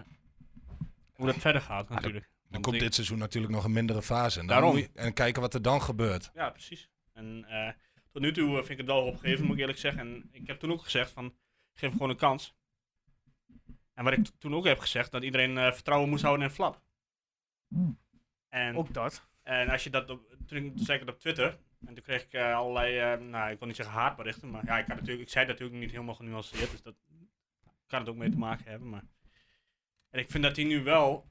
S5: Ah, dat verder gaat natuurlijk.
S4: dan
S5: Want
S4: komt
S5: ik-
S4: dit seizoen natuurlijk nog een mindere fase. En, dan
S5: Daarom.
S4: moet je- en kijken wat er dan gebeurt.
S5: Ja, precies. En eh, tot nu toe eh, vind ik het wel opgegeven, moet ik eerlijk zeggen. En ik heb toen ook gezegd van, geef hem gewoon een kans. En wat ik t- toen ook heb gezegd, dat iedereen eh, vertrouwen moest houden in Flap. En
S1: Hmm. Ook dat.
S5: En als je dat op, toen, toen zei ik dat op Twitter. En toen kreeg ik eh, allerlei, eh, nou ik wil niet zeggen haatberichten, maar ja, ik, had natuurlijk, ik zei dat natuurlijk niet helemaal genuanceerd. Dus dat kan het ook mee te maken hebben. Maar. En ik vind dat hij nu wel,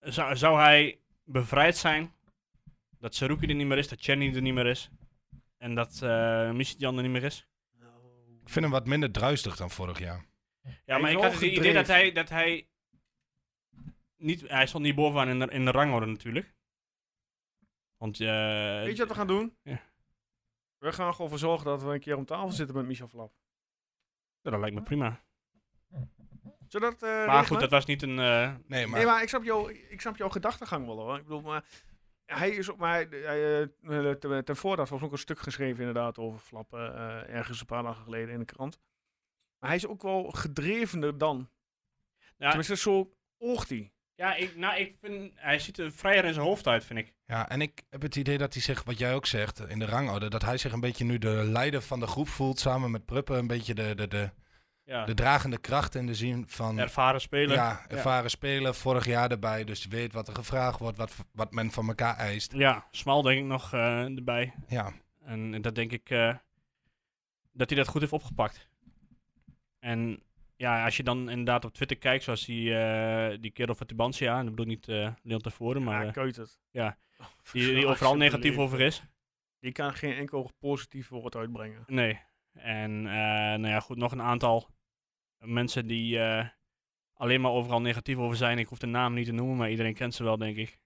S5: zou, zou hij bevrijd zijn dat Saruki er niet meer is, dat Chenny er niet meer is. En dat eh Michidjan er niet meer is.
S4: Ik vind hem wat minder druistig dan vorig jaar.
S5: Ja, maar
S1: is
S5: ik
S1: wel
S5: had het idee
S1: gedreven.
S5: dat hij, dat hij niet, hij stond niet bovenaan in de, in de rangorde natuurlijk. Want, eh,
S1: Weet je wat we gaan doen?
S5: Ja.
S1: We gaan gewoon voor zorgen dat we een keer om tafel zitten met Michel Flap.
S5: Ja, dat lijkt me prima.
S1: Zodat. eh
S5: Maar
S1: regelen?
S5: goed, dat was niet een. eh,
S4: Nee, maar,
S1: Nee, maar ik snap, jou, ik snap jouw gedachtegang wel hoor. Ik bedoel, maar hij is op mij. Hij, eh, eh, ten, ten voordat was ook een stuk geschreven, inderdaad, over flappen. eh, ergens een paar dagen geleden in de krant. Maar hij is ook wel gedrevener dan.
S5: Ja.
S1: Tenminste, zo oogt hij.
S5: ja, ik, nou, ik vind. Hij ziet er vrijer in zijn hoofd uit, vind ik.
S4: ja, en ik heb het idee dat hij zich, wat jij ook zegt, in de rangorde, dat hij zich een beetje nu de leider van de groep voelt, samen met Pruppen, een beetje de, de, de,
S5: Ja.
S1: Dus
S4: de dragende kracht in de zin van...
S5: Ervaren speler. Ja.
S4: Ja, ervaren speler, vorig jaar erbij, dus je weet wat er gevraagd wordt, wat, wat men van elkaar eist.
S5: smal denk ik nog eh, erbij.
S4: Ja,
S5: En dat denk ik. eh, dat hij dat goed heeft opgepakt. En ja, als je dan inderdaad op Twitter kijkt, zoals die, eh, die kerel van Tubantia. En ik bedoel niet eh Leon tevoren, maar.
S1: Maar ja,
S5: eh,
S1: keut het.
S5: ja.
S1: Oh,
S5: die, die overal negatief
S1: alsjeblieft.
S5: over is.
S1: Die kan geen enkel positief woord uitbrengen.
S5: Nee. En eh, nou ja, goed, nog een aantal mensen die eh, alleen maar overal negatief over zijn. Ik hoef de naam niet te noemen, maar iedereen kent ze wel, denk ik.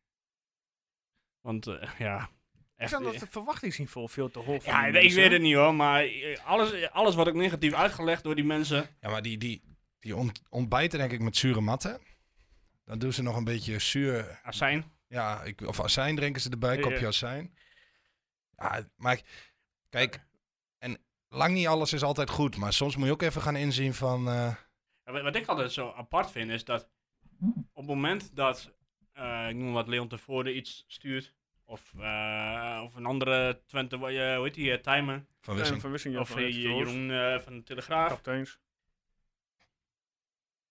S5: Want eh, ja,
S1: Ik
S5: echt. eh.
S1: vind dat het verwachtingsniveau veel te hoog
S5: ja,
S1: die
S5: ik, ik
S1: mensen.
S5: weet het niet hoor, maar eh, alles, alles wat ook negatief uitgelegd door die mensen.
S4: ja maar die, die, die ont- ontbijten denk ik met zure matten. Dan doen ze nog een beetje zuur
S5: Azijn.
S4: Ja, ik, of azijn drinken ze erbij,
S5: Ja,
S4: kopje
S5: ja.
S4: azijn. Ja, maar ik- kijk, en lang niet alles is altijd goed, maar soms moet je ook even gaan inzien van... eh,
S5: Ja, Wat, wat ik altijd zo apart vind is dat op het moment dat, eh, ik noem wat Leon tevoren iets stuurt, of, eh, of een andere Twente, eh, hoe heet die, eh, Timer,
S4: van
S1: Ja,
S4: Wissing,
S1: Van Wissing,
S5: of
S1: van
S5: eh,
S1: Ed Verhulst,
S5: Jeroen eh, van de Telegraaf.
S1: Kapteins.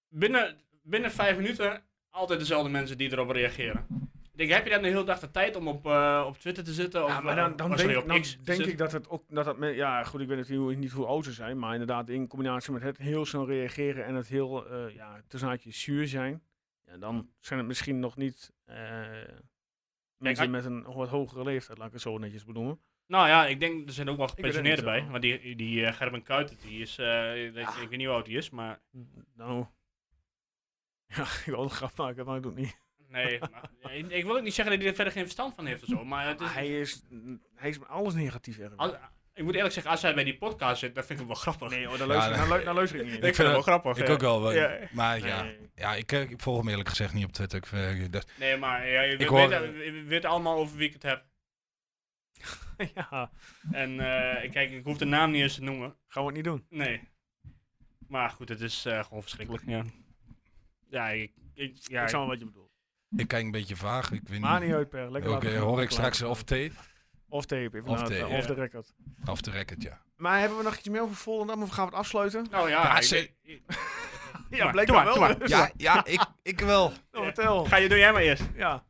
S5: binnen, binnen vijf minuten altijd dezelfde mensen die erop reageren. Ik denk, heb je dan de hele dag de tijd om op, eh, op Twitter te zitten? Of,
S1: Ja, maar
S5: eh,
S1: dan, dan
S5: oh, sorry,
S1: denk,
S5: op
S1: dan
S5: X te
S1: denk
S5: zitten?
S1: ik dat het ook dat dat men- ja goed ik weet natuurlijk hoe- niet hoe oud ze zijn, maar inderdaad in combinatie met het heel snel reageren en het heel eh ja tussen haakjes zuur zijn, ja, dan zijn het misschien nog niet eh, mensen
S5: hij-
S1: met een wat hogere leeftijd, laat ik het zo netjes benoemen.
S5: Nou ja, ik denk, er zijn ook wel
S1: weet het niet Ah.
S5: gepensioneerden bij.
S1: zo.
S5: Want die, die eh, Gerben Kuiten, die is, eh, ik weet- ik weet niet hoe oud die is, maar...
S1: Nou, ja, ik wil een grap maken, maar ik doe het niet.
S5: Nee, maar, ik, ik wil ook niet zeggen dat hij er verder geen verstand van heeft of zo, maar het is...
S1: Ah, Hij is, hij is met alles negatief erg.
S5: als- ik moet eerlijk zeggen, als hij bij die podcast zit, dan vind ik het wel grappig.
S1: Nee, oh, daar luister,
S4: nee.
S1: daar lu- daar luister ik niet.
S5: ik
S1: in.
S5: vind het
S4: vind
S5: wel grappig.
S4: ik
S5: ja.
S4: ook wel. wel,
S1: Ja.
S4: Maar ja,
S1: Nee.
S4: ja ik, eh, ik volg hem eerlijk gezegd niet op Twitter. Ik, vind- eh, dat-
S5: Nee, maar ja, je weet,
S4: hoor-
S5: je weet allemaal over wie ik het heb.
S1: ja,
S5: En eh, kijk, ik hoef de naam niet eens te noemen.
S1: gaan we het niet doen.
S5: Nee. Maar goed, het is eh, gewoon verschrikkelijk. Ja, ja ik. ik, ja,
S1: ik
S5: ik-
S1: snap wel wat je bedoelt.
S4: ik kijk een beetje vaag, ik weet
S1: Maar
S4: niet.
S1: niet uit, Per. Lekker
S4: Oké,
S1: laten gaan.
S4: hoor ik
S1: Lekker
S4: straks
S1: laten
S4: of tape?
S1: gaan. nou, Of tape, even
S4: Off
S1: off, tape,
S4: tape,
S1: off the
S5: ja.
S1: record.
S4: Of de record, ja.
S1: Maar hebben we nog iets meer over Volendam of gaan we het afsluiten?
S5: nou ja,
S4: Ja,
S5: ik-
S4: ze-
S5: ik-
S1: Ja,
S5: maar,
S1: blijkbaar
S5: doe
S1: wel.
S5: maar, doe
S1: dus.
S4: Ja, ja ik, ik wel.
S1: Nou, vertel.
S5: ga je, doe jij maar eerst.
S1: Ja.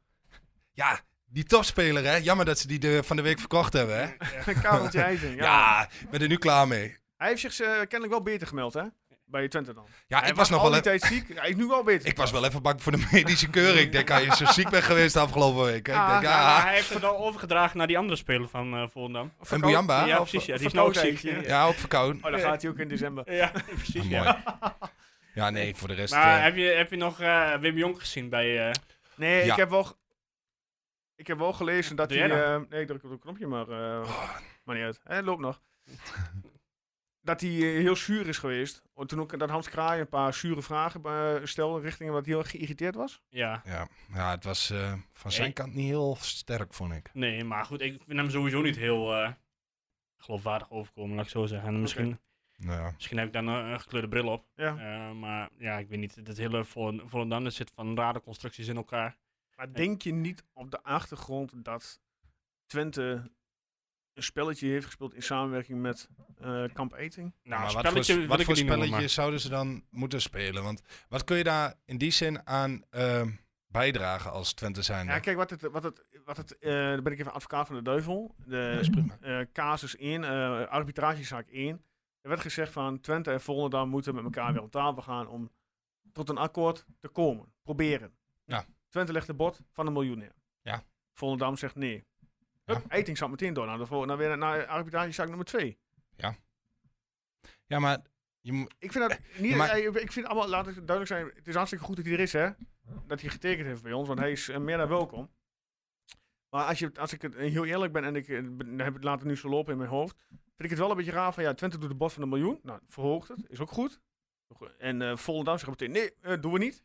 S4: Ja, Die topspeler, hè? Jammer dat ze die de, van de week verkocht hebben, hè?
S1: Kareltje IJzing.
S4: Ja,
S1: Ja.
S4: ik ben er nu klaar mee.
S1: Hij heeft zich eh, kennelijk wel beter gemeld, hè? Bij Twente dan.
S4: Ja,
S1: hij
S4: ik was, nog
S1: al
S4: wel
S1: die
S4: even,
S1: tijd ziek. Hij is nu wel beter.
S4: ik was wel even bang voor de medische keuring. Ik denk, ah, je zo ziek bent geweest de afgelopen week. hè? Ik
S1: Ah,
S4: denk,
S1: ja,
S4: ah,
S5: Maar hij heeft het al overgedragen naar die andere speler van eh Volendam.
S4: en
S1: Verkoud-
S4: Bujamba?
S5: ja,
S4: Of-
S5: precies. Ja, die is nou ook
S1: verkoudheid,
S5: ziek.
S1: ja.
S5: Ja,
S4: Ja, ook verkouden.
S1: Oh, dan gaat hij ook in december.
S5: Ja, precies.
S4: Ah,
S5: ja.
S4: mooi. Ja, nee, voor de rest...
S5: Maar
S4: eh,
S5: heb, je, heb je nog eh, Wim Jong gezien bij... eh
S1: Nee,
S4: Ja.
S1: ik heb wel... ge- Ik heb wel gelezen dat
S5: Doe
S1: hij...
S5: jij
S1: eh, nee, ik druk op het knopje, maar... eh Maar niet uit. Hij loopt nog. dat hij eh, heel zuur is geweest. En toen ook dat Hans Kraai een paar zure vragen eh, stelde richting hem dat hij heel erg geïrriteerd was.
S5: ja,
S4: ja, ja, het was eh, van zijn
S5: Nee.
S4: kant niet heel sterk, vond ik.
S5: nee, maar goed. Ik vind hem sowieso niet heel eh, geloofwaardig overkomen, laat ik zo zeggen. En misschien,
S4: Nou ja.
S5: misschien heb ik dan een, een gekleurde bril op.
S1: Ja.
S5: Eh, maar ja, ik weet niet. Dat hele Volen- Volendam, dat zit van rare constructies in elkaar.
S1: Maar denk je niet op de achtergrond dat Twente een spelletje heeft gespeeld in samenwerking met eh, Kamp Eting?
S5: Nou,
S4: maar wat voor,
S5: spelletje wil
S4: wat
S5: ik
S4: voor
S5: het niet noemen,
S4: spelletjes
S5: maar-
S4: zouden ze dan moeten spelen? Want wat kun je daar in die zin aan ehm, bijdragen als Twente zijn?
S1: Ja, kijk, wat het, wat het, wat het, eh, dan ben ik even advocaat van de duivel. De eh, casus 1, eh, arbitragezaak 1. Er werd gezegd van Twente en Volendam moeten met elkaar weer op tafel gaan om tot een akkoord te komen. Proberen.
S4: Ja.
S1: Twente legt de bod van een miljoen neer.
S4: Ja.
S1: Volendam zegt nee. Hup, Eiting zat meteen door naar, de, vol- naar, weer naar arbitragezaak nummer 2.
S4: Ja, maar je, mo-
S1: Ik vind dat niet.
S4: maar-
S1: eh, Ik vind allemaal, laat het duidelijk zijn. Het is hartstikke goed dat hij er is, hè? Dat hij getekend heeft bij ons, want hij is eh, meer dan welkom. Maar als, je, als ik het eh, heel eerlijk ben en ik eh, ben- heb het later nu zo lopen in mijn hoofd, vind ik het wel een beetje raar van ja, Twente doet de bod van een miljoen. Nou, verhoogt het, is ook goed. En eh Volendam zegt meteen, nee, eh, doen we niet.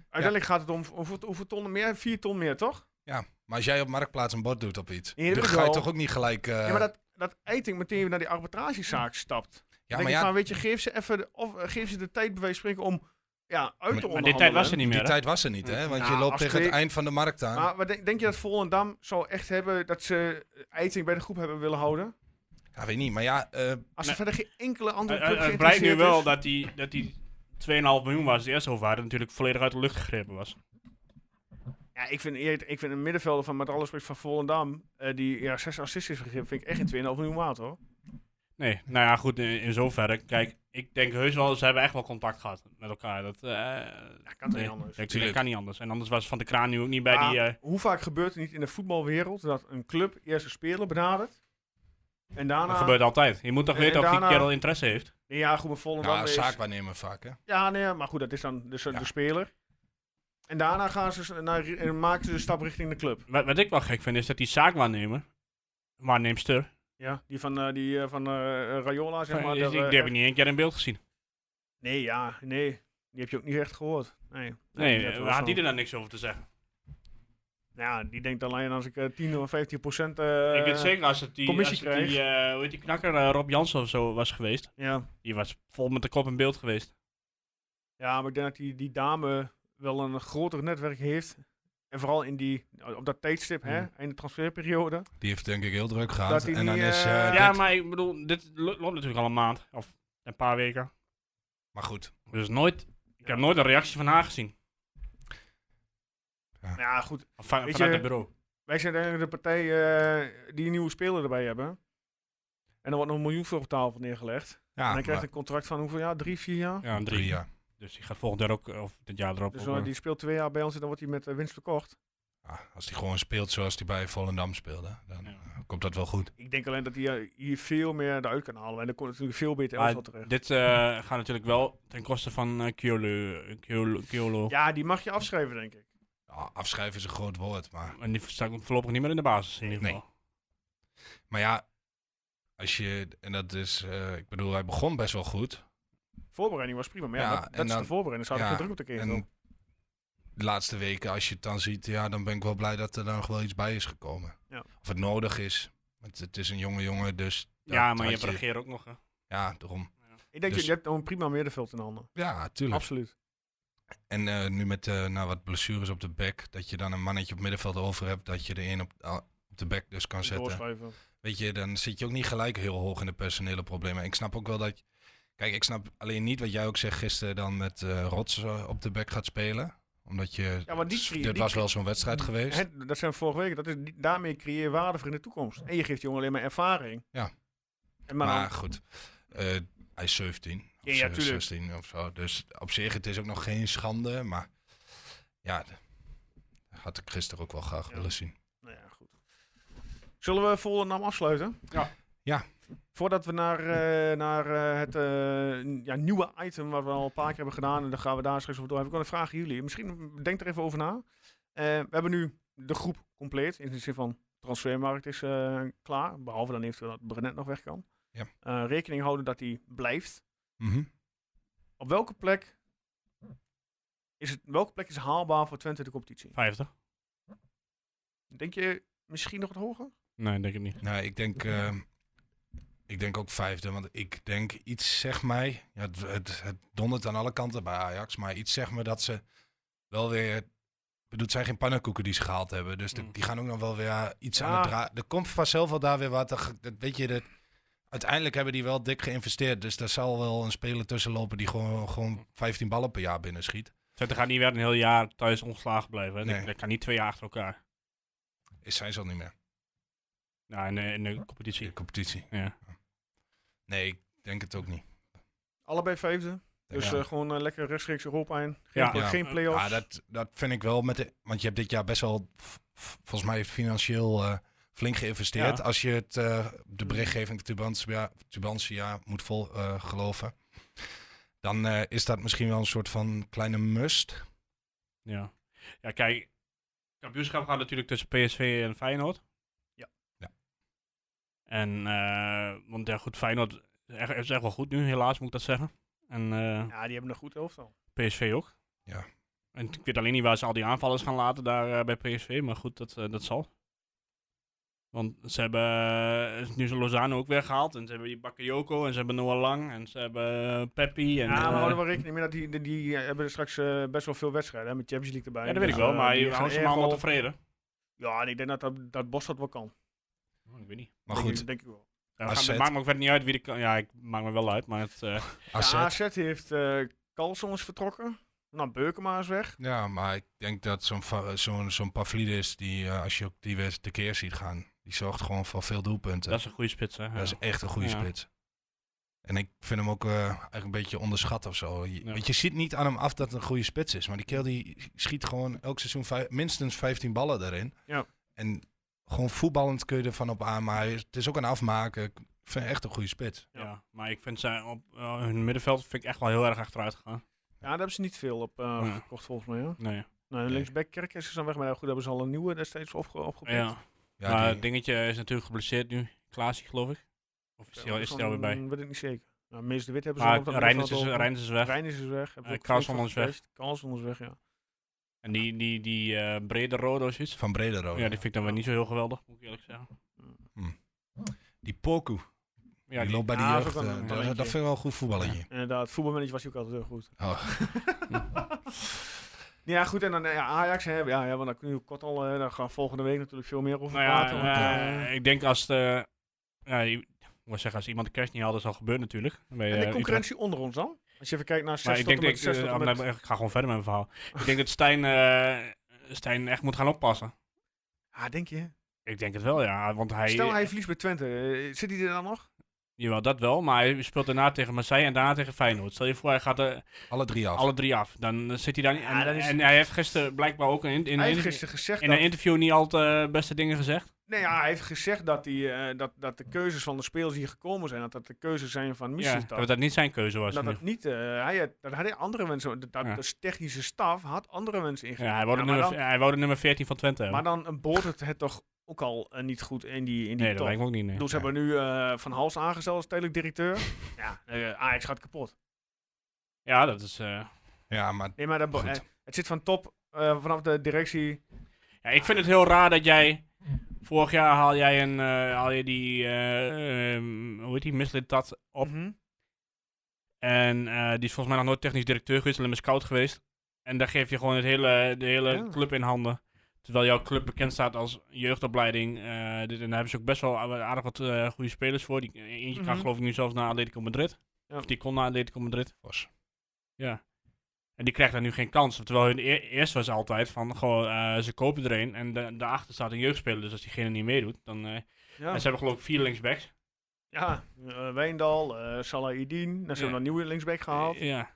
S1: Uiteindelijk gaat het om hoeveel, hoeveel tonnen meer? Vier ton meer, toch?
S4: ja, maar als jij op Marktplaats een bod doet op iets,
S1: Ja, dat
S4: dan
S1: is
S4: ga je
S1: wel-
S4: toch ook niet gelijk... eh,
S1: ja, maar dat, dat Eiting meteen naar die arbitragezaak stapt.
S4: ja,
S1: denk
S4: maar
S1: ik
S4: ja,
S1: van, weet je, geef ze, even de, of, eh, geef ze de tijd bij wijze van spreken om ja, uit te
S5: Maar
S1: onderhandelen.
S5: die tijd was er niet
S4: die
S5: meer, hè?
S4: tijd was er niet, hè? Want
S1: Ja,
S4: je loopt
S1: Nou, als
S4: tegen het
S1: twee-
S4: eind van de markt aan.
S1: Maar wat denk, denk je dat Volendam zo echt hebben dat ze Eiting bij de groep hebben willen houden?
S4: Ja, weet niet, maar ja... eh,
S1: Als
S5: Nee.
S1: er verder geen enkele andere
S5: Het-
S1: club
S5: het- Eh, Het blijkt
S1: geïnteresseerd
S5: nu wel
S1: is?
S5: dat die, dat die 2,5 miljoen was, die eerst overwaarde, natuurlijk volledig uit de lucht gegrepen was.
S1: Ja, ik vind, eer- ik vind een middenvelder van met alle respect van Volendam, eh, die ja, zes assists heeft gegeven, vind ik echt geen 2,5 miljoen waard hoor.
S5: Nee, nou ja, goed, in, in zoverre. Kijk, ik denk heus wel, ze hebben echt wel contact gehad met elkaar. Dat eh,
S1: kan toch
S5: nee,
S1: niet anders?
S5: Dat,
S4: Tuurlijk.
S5: kan niet anders. En anders was Van de Kraan nu ook niet bij
S1: Maar
S5: die... eh,
S1: Hoe vaak gebeurt het niet in de voetbalwereld dat een club eerst een speler benadert en daarna...
S5: dat gebeurt altijd. Je moet toch
S1: En
S5: weten of die
S1: ah, daarna-
S5: kerel interesse heeft.
S1: Nee, ja, goed, maar Volendam
S4: nou,
S1: is...
S4: zaakwaarnemer vaak, hè?
S1: Ja, nee, maar goed, dat is dan dus, eh, de,
S4: Ja.
S1: de speler. En daarna gaan ze s- naar, en maken ze de stap richting de club.
S5: Wat, wat ik wel gek vind, is dat die zaakwaarnemer, waarneemster,
S1: Ja, die van, eh, die, eh, van eh, eh, Rayola, zeg maar.
S5: die,
S1: dat,
S5: die
S1: eh,
S5: heb ik niet één keer in beeld gezien.
S1: Nee, ja, nee. Die heb je ook niet echt gehoord. Nee,
S5: Nee,
S1: dat
S5: eh,
S1: was
S5: had
S1: zo.
S5: die er dan niks over te zeggen?
S1: Ja, die denkt alleen als ik eh, 10 of 15 procent... eh,
S5: ik weet zeker, als het die, als
S1: commissie
S5: het die, eh, hoe heet die knakker, eh, Rob Jansen of zo was geweest,
S1: Ja.
S5: die was vol met de kop in beeld geweest.
S1: ja, maar ik denk dat die, die dame wel een groter netwerk heeft. En vooral in die, op dat tijdstip,
S5: Mm.
S1: hè, in de transferperiode.
S4: Die heeft denk ik heel druk
S1: Dat
S4: gehad.
S1: hij
S4: En dan
S1: die,
S4: is... eh,
S1: eh,
S4: dit-
S5: Ja, maar ik bedoel, dit lo- loopt natuurlijk al een maand of een paar weken.
S4: Maar goed,
S5: Dus nooit, ik heb nooit een reactie van haar gezien.
S1: Nou ja, goed.
S5: Of van-
S1: Weet
S5: vanuit
S1: je-
S5: het bureau.
S1: Wij zijn eigenlijk de partij eh, die een nieuwe speler erbij hebben. En er wordt nog een miljoen voor op tafel neergelegd. en
S4: ja,
S1: hij krijgt
S4: Ah, maar-
S1: een contract van hoeveel jaar? Drie, vier jaar?
S5: Ja, een drie.
S4: drie jaar.
S5: Dus die gaat volgend jaar ook, eh, of dit jaar erop.
S1: Dus
S5: ook,
S1: eh,
S5: eh.
S1: die speelt twee jaar bij ons en dan wordt hij met eh, winst verkocht.
S4: Ah, als hij gewoon speelt zoals hij bij Volendam speelde, dan
S5: Ja.
S4: eh, komt dat wel goed.
S1: Ik denk alleen dat hij eh, hier veel meer eruit kan halen. En dan komt het natuurlijk veel beter
S5: Maar
S1: Elftal terecht.
S5: dit eh, gaat natuurlijk wel ten koste van eh Kyolo. Kyolo, Kyolo.
S1: Ja, die mag je afschrijven, denk ik.
S4: Ja, afschrijven is een groot woord, maar...
S5: En die staat voorlopig niet meer in de basis in ieder
S4: Nee.
S5: geval.
S4: Maar ja, als je, en dat is, eh, ik bedoel, hij begon best wel goed.
S1: Voorbereiding was prima, maar ja,
S4: Ja,
S1: dat,
S4: en
S1: dat is de
S4: dan-
S1: voorbereiding. Daar zou
S4: ja,
S1: ik geen druk op de keer
S4: En
S1: doen.
S4: de laatste weken, als je het dan ziet, ja, dan ben ik wel blij dat er dan nog wel iets bij is gekomen.
S1: Ja.
S4: Of het nodig is. Want het is een jonge jongen, dus. dat
S5: Ja, maar je
S4: had
S5: hebt regeer ook nog. hè.
S4: Ja, daarom.
S1: Ik denk, dat
S4: dus-
S1: je hebt nog een prima middenveld in handen.
S4: Ja, tuurlijk.
S1: Absoluut.
S4: En eh, nu met eh nou, wat blessures op de bek, dat je dan een mannetje op middenveld over hebt, dat je er één op, ah, op de bek dus kan zetten.
S1: Doorschrijven.
S4: Weet je, dan zit je ook niet gelijk heel hoog in de personele problemen. Ik snap ook wel dat. Kijk, ik snap alleen niet wat jij ook zegt gisteren dan met eh Rots eh, op de bek gaat spelen. Omdat je,
S1: Ja, maar die
S4: s-
S1: crea-
S4: dit
S1: die
S4: was
S1: crea-
S4: wel zo'n wedstrijd geweest.
S1: Hè, dat zijn we vorige week. Dat is, die- daarmee creëer je waarde voor in de toekomst. En je geeft die jongen alleen maar ervaring.
S4: Ja.
S1: En
S4: maar
S1: maar, dan-
S4: goed, eh, hij is 17. Of
S1: Ja, ja,
S4: ze-
S1: tuurlijk.
S4: 16 of zo. Dus op zich, het is ook nog geen schande. Maar ja, d- had ik gisteren ook wel graag
S1: Ja.
S4: willen zien.
S1: nou ja, goed. Zullen we Volendam afsluiten?
S5: Ja.
S4: Ja.
S1: Voordat we naar, eh, naar eh, het eh, n- ja, nieuwe item wat we al een paar keer hebben gedaan. En dan gaan we daar straks over door. Heb ik wel een vraag aan jullie. Misschien denk er even over na. Eh, we hebben nu de groep compleet. In de zin van transfermarkt is eh, klaar. Behalve dan eventueel dat Brenet nog weg kan.
S4: Ja.
S1: Eh, rekening houden dat hij blijft.
S4: Mhm.
S1: Op welke plek is het, welke plek is haalbaar voor Twente de competitie?
S5: 50?
S1: Denk je misschien nog wat hoger?
S5: Nee, denk ik niet.
S4: Nou, ik denk, ehm, ik denk ook vijfde. Want ik denk iets, zeg mij. Ja, het, het, het dondert aan alle kanten bij Ajax. Maar iets zeg me dat ze wel weer. Ik bedoel, het zijn geen pannenkoeken die ze gehaald hebben. Dus de-
S5: Mm.
S4: die gaan ook nog wel weer iets
S1: Ja.
S4: aan het draaien. Er komt vanzelf wel daar weer wat. Dat, dat- weet je, dat, uiteindelijk hebben die wel dik geïnvesteerd. Dus daar zal wel een speler tussen lopen die gewoon, gewoon 15 ballen per jaar binnen schiet.
S5: Twente gaat niet weer een heel jaar thuis ongeslagen blijven. hè. Dat-
S4: Nee.
S5: Dat kan niet twee jaar achter elkaar.
S4: Is zijn ze al niet meer.
S5: Nou, in de, in de
S4: De
S5: competitie.
S4: competitie.
S5: Ja.
S4: Nee, ik denk het ook niet.
S1: Allebei vijfde. Dus
S4: Ja.
S1: eh, gewoon eh, lekker rechtstreeks Europa in. Geen,
S5: Ja.
S1: pla-
S4: Ja.
S1: geen play-offs.
S4: Ja, dat, dat vind ik wel. Met de, want je hebt dit jaar best wel, f- f- volgens mij, financieel eh, flink geïnvesteerd.
S5: Ja.
S4: Als je het, eh, de berichtgeving Tubantia, Tubantia moet vol eh, geloven. Dan eh, is dat misschien wel een soort van kleine must.
S5: Ja. Ja, kijk. Het kampioenschap gaat natuurlijk tussen PSV en Feyenoord.
S1: Ja.
S4: Ja.
S5: En, eh want ja, goed, Feyenoord is echt, is echt wel goed nu, helaas moet ik dat zeggen. En eh,
S1: Ja, die hebben een goed elftal.
S5: PSV ook.
S4: Ja.
S5: En ik weet alleen niet waar ze al die aanvallers gaan laten daar eh, bij PSV, maar goed, dat, eh, dat zal. Want ze hebben eh, nu zijn Lozano ook weggehaald. En ze hebben die Bakayoko en ze hebben Noah Lang en ze hebben eh, Peppi. En,
S1: Ja, maar
S5: eh,
S1: houden we wel rekening mee dat die, die, die hebben straks eh, best wel veel wedstrijden. Hè, met Champions League erbij.
S5: ja, dat weet ik
S1: Dus,
S5: wel,
S1: eh,
S5: maar
S1: die
S5: je
S1: gaan
S5: houdt ze
S1: erg
S5: maar allemaal
S1: wel-
S5: tevreden.
S1: Ja, en ik denk dat, dat, dat Bos dat wel kan.
S5: ik weet niet.
S4: Maar
S1: Denk
S4: goed,
S1: Oh, ik- denk ik wel.
S5: Ja,
S4: AZ.
S5: gaan- het maakt me ook verder niet uit wie de kan. Ja, ik maak me wel uit, maar het. eh,
S4: AZ.
S1: Ja, AZ heeft eh Carlson is vertrokken. Nou, Beukema is weg.
S4: Ja, maar ik denk dat zo'n fa- zo'n zo'n Pavlidis, die, eh, als je ook die weer te keer ziet gaan, die zorgt gewoon voor veel doelpunten.
S5: dat is een goede spits, hè? Ja.
S4: Dat is echt een goede
S5: Ja.
S4: spits. En ik vind hem ook eh, eigenlijk een beetje onderschat of zo. Je,
S5: Ja.
S4: Want je ziet niet aan hem af dat het een goede spits is. Maar die kerel die schiet gewoon elk seizoen vij- minstens 15 ballen erin.
S1: Ja.
S4: En gewoon voetballend kun je ervan op aan. Maar hij is- het is ook een afmaken. Ik vind hem echt een goede spits.
S5: Ja. maar ik vind zij op eh, hun middenveld vind ik echt wel heel erg achteruit gegaan.
S1: Ja, daar hebben ze niet veel op eh,
S5: Ja.
S1: gekocht volgens mij. Hoor.
S5: Nee.
S1: Nou, linksback Kerkers is dan weg, maar ja, goed, hebben ze al een nieuwe destijds opge opgepikt.
S5: Ja.
S4: Ja,
S5: maar
S4: die-
S5: het dingetje is natuurlijk geblesseerd nu. Klaasie, geloof ik. Of is
S1: Ja,
S5: hij al- is hij
S1: van-
S5: er weer bij?
S1: Weet ik niet zeker. Nou, Mees de Wit hebben ze
S5: Maar
S1: al op dat
S5: Reinders is,
S1: middenveld over.
S5: Reinders is weg.
S1: Reinders is weg.
S5: Eh, Carlson is weg.
S1: Carlson is weg, ja.
S5: En die, die, die eh brede rode of zoiets.
S4: van Brederode.
S5: Ja, die vind ik dan weer niet zo heel geweldig, moet ik eerlijk zeggen.
S4: Die Poku.
S5: Ja,
S4: die
S5: die-
S4: loopt bij de
S1: Ja, dat is
S4: jeugd.
S1: ook een
S4: eh, dat,
S1: talentje.
S4: dat vind ik wel een goed voetballertje.
S1: Inderdaad, voetbalmanager was hij ook altijd heel goed.
S4: Oh.
S1: Ja, goed, en dan eh, ja, Ajax, hè, ja, ja, want dan nu kort al, eh, daar gaan we volgende week natuurlijk veel meer over
S5: Nou ja,
S1: praten.
S5: eh, ik denk als de. ja, je- ik moet zeggen, als iemand de kerst niet haalt, dat zal gebeuren natuurlijk. Bij,
S1: en
S5: eh,
S1: de
S5: Utrecht.
S1: concurrentie onder ons dan? Als je even kijkt naar 6
S5: Maar ik denk
S1: tot
S5: dat
S1: en
S5: ik,
S1: met 6
S5: eh,
S1: tot en
S5: nou,
S1: met-
S5: ik ga gewoon verder met mijn verhaal. ik denk dat Stijn, eh, Stijn echt moet gaan oppassen.
S1: Ah, denk je?
S5: Ik denk het wel, ja. Want hij,
S1: Stel hij verliest bij Twente, eh, zit hij er dan nog?
S5: Jawel, dat wel. Maar hij speelt daarna tegen Marseille en daarna tegen Feyenoord. Stel je voor, hij gaat eh, er
S4: Alle drie af.
S5: alle drie af. Dan eh, zit hij daar niet. En,
S1: Ja, dan is-
S5: en hij heeft gisteren blijkbaar ook in, in, in,
S1: hij heeft gisteren gezegd
S5: in
S1: dat...
S5: een interview niet al te eh, beste dingen gezegd.
S1: Nee, ja, hij heeft gezegd dat, die, eh, dat, dat de keuzes van de spelers die gekomen zijn, dat dat de keuzes zijn van
S5: Ja,
S1: Michelin.
S5: dat dat niet zijn keuze was.
S1: dat
S5: in
S1: dat niet, eh, hij had, dat had hij andere wensen. Dat, dat-
S5: Ja.
S1: Dus technische staf had andere wensen
S5: ieder
S1: ingezet.
S5: geval. ja, hij, wou
S1: Ja,
S5: de
S1: maar,
S5: nummer,
S1: dan,
S5: hij wou de nummer 14 van Twente
S1: maar
S5: hebben.
S1: dan eh, boort het, het toch ook al eh, niet goed in die, in die
S5: nee, dat
S1: top.
S5: lijkt me ook niet.
S1: Ik
S5: Nee.
S1: bedoel, ze hebben nu eh, Van Hals aangesteld als tijdelijk directeur. ja, eh, Ajax gaat kapot.
S5: Ja, dat is. eh,
S4: Ja, maar
S1: Nee, maar dat, bo-
S4: Goed.
S1: eh, het zit van top eh, vanaf de directie.
S5: Ja, ik vind het heel raar dat jij. Vorig jaar haal jij een. eh, haal je die. eh, ehm, hoe heet die? Mislit dat op.
S1: Mhm.
S5: En eh, die is volgens mij nog nooit technisch directeur geweest, alleen maar scout geweest. En daar geef je gewoon het hele, de hele
S1: Ja.
S5: club in handen. Terwijl jouw club bekend staat als jeugdopleiding. eh, dit, en daar hebben ze ook best wel a- aardig wat eh, goede spelers voor. Die, eentje kan
S1: Mhm.
S5: geloof ik nu zelfs naar Atletico Madrid.
S1: Ja.
S5: Of die kon naar Atletico Madrid.
S4: was.
S5: Ja. En die krijgt daar nu geen kans. Terwijl hun e- eerst was altijd van, goh, eh, ze kopen er een en da- daarachter staat een jeugdspeler. Dus als diegene niet meedoet, dan... eh,
S1: Ja,
S5: En ze hebben geloof ik vier linksbacks.
S1: ja. eh, Wijndal, eh Salah Idin. Dan zijn we
S5: Ja.
S1: een nieuwe linksback gehaald.
S5: Ja.
S4: Ja,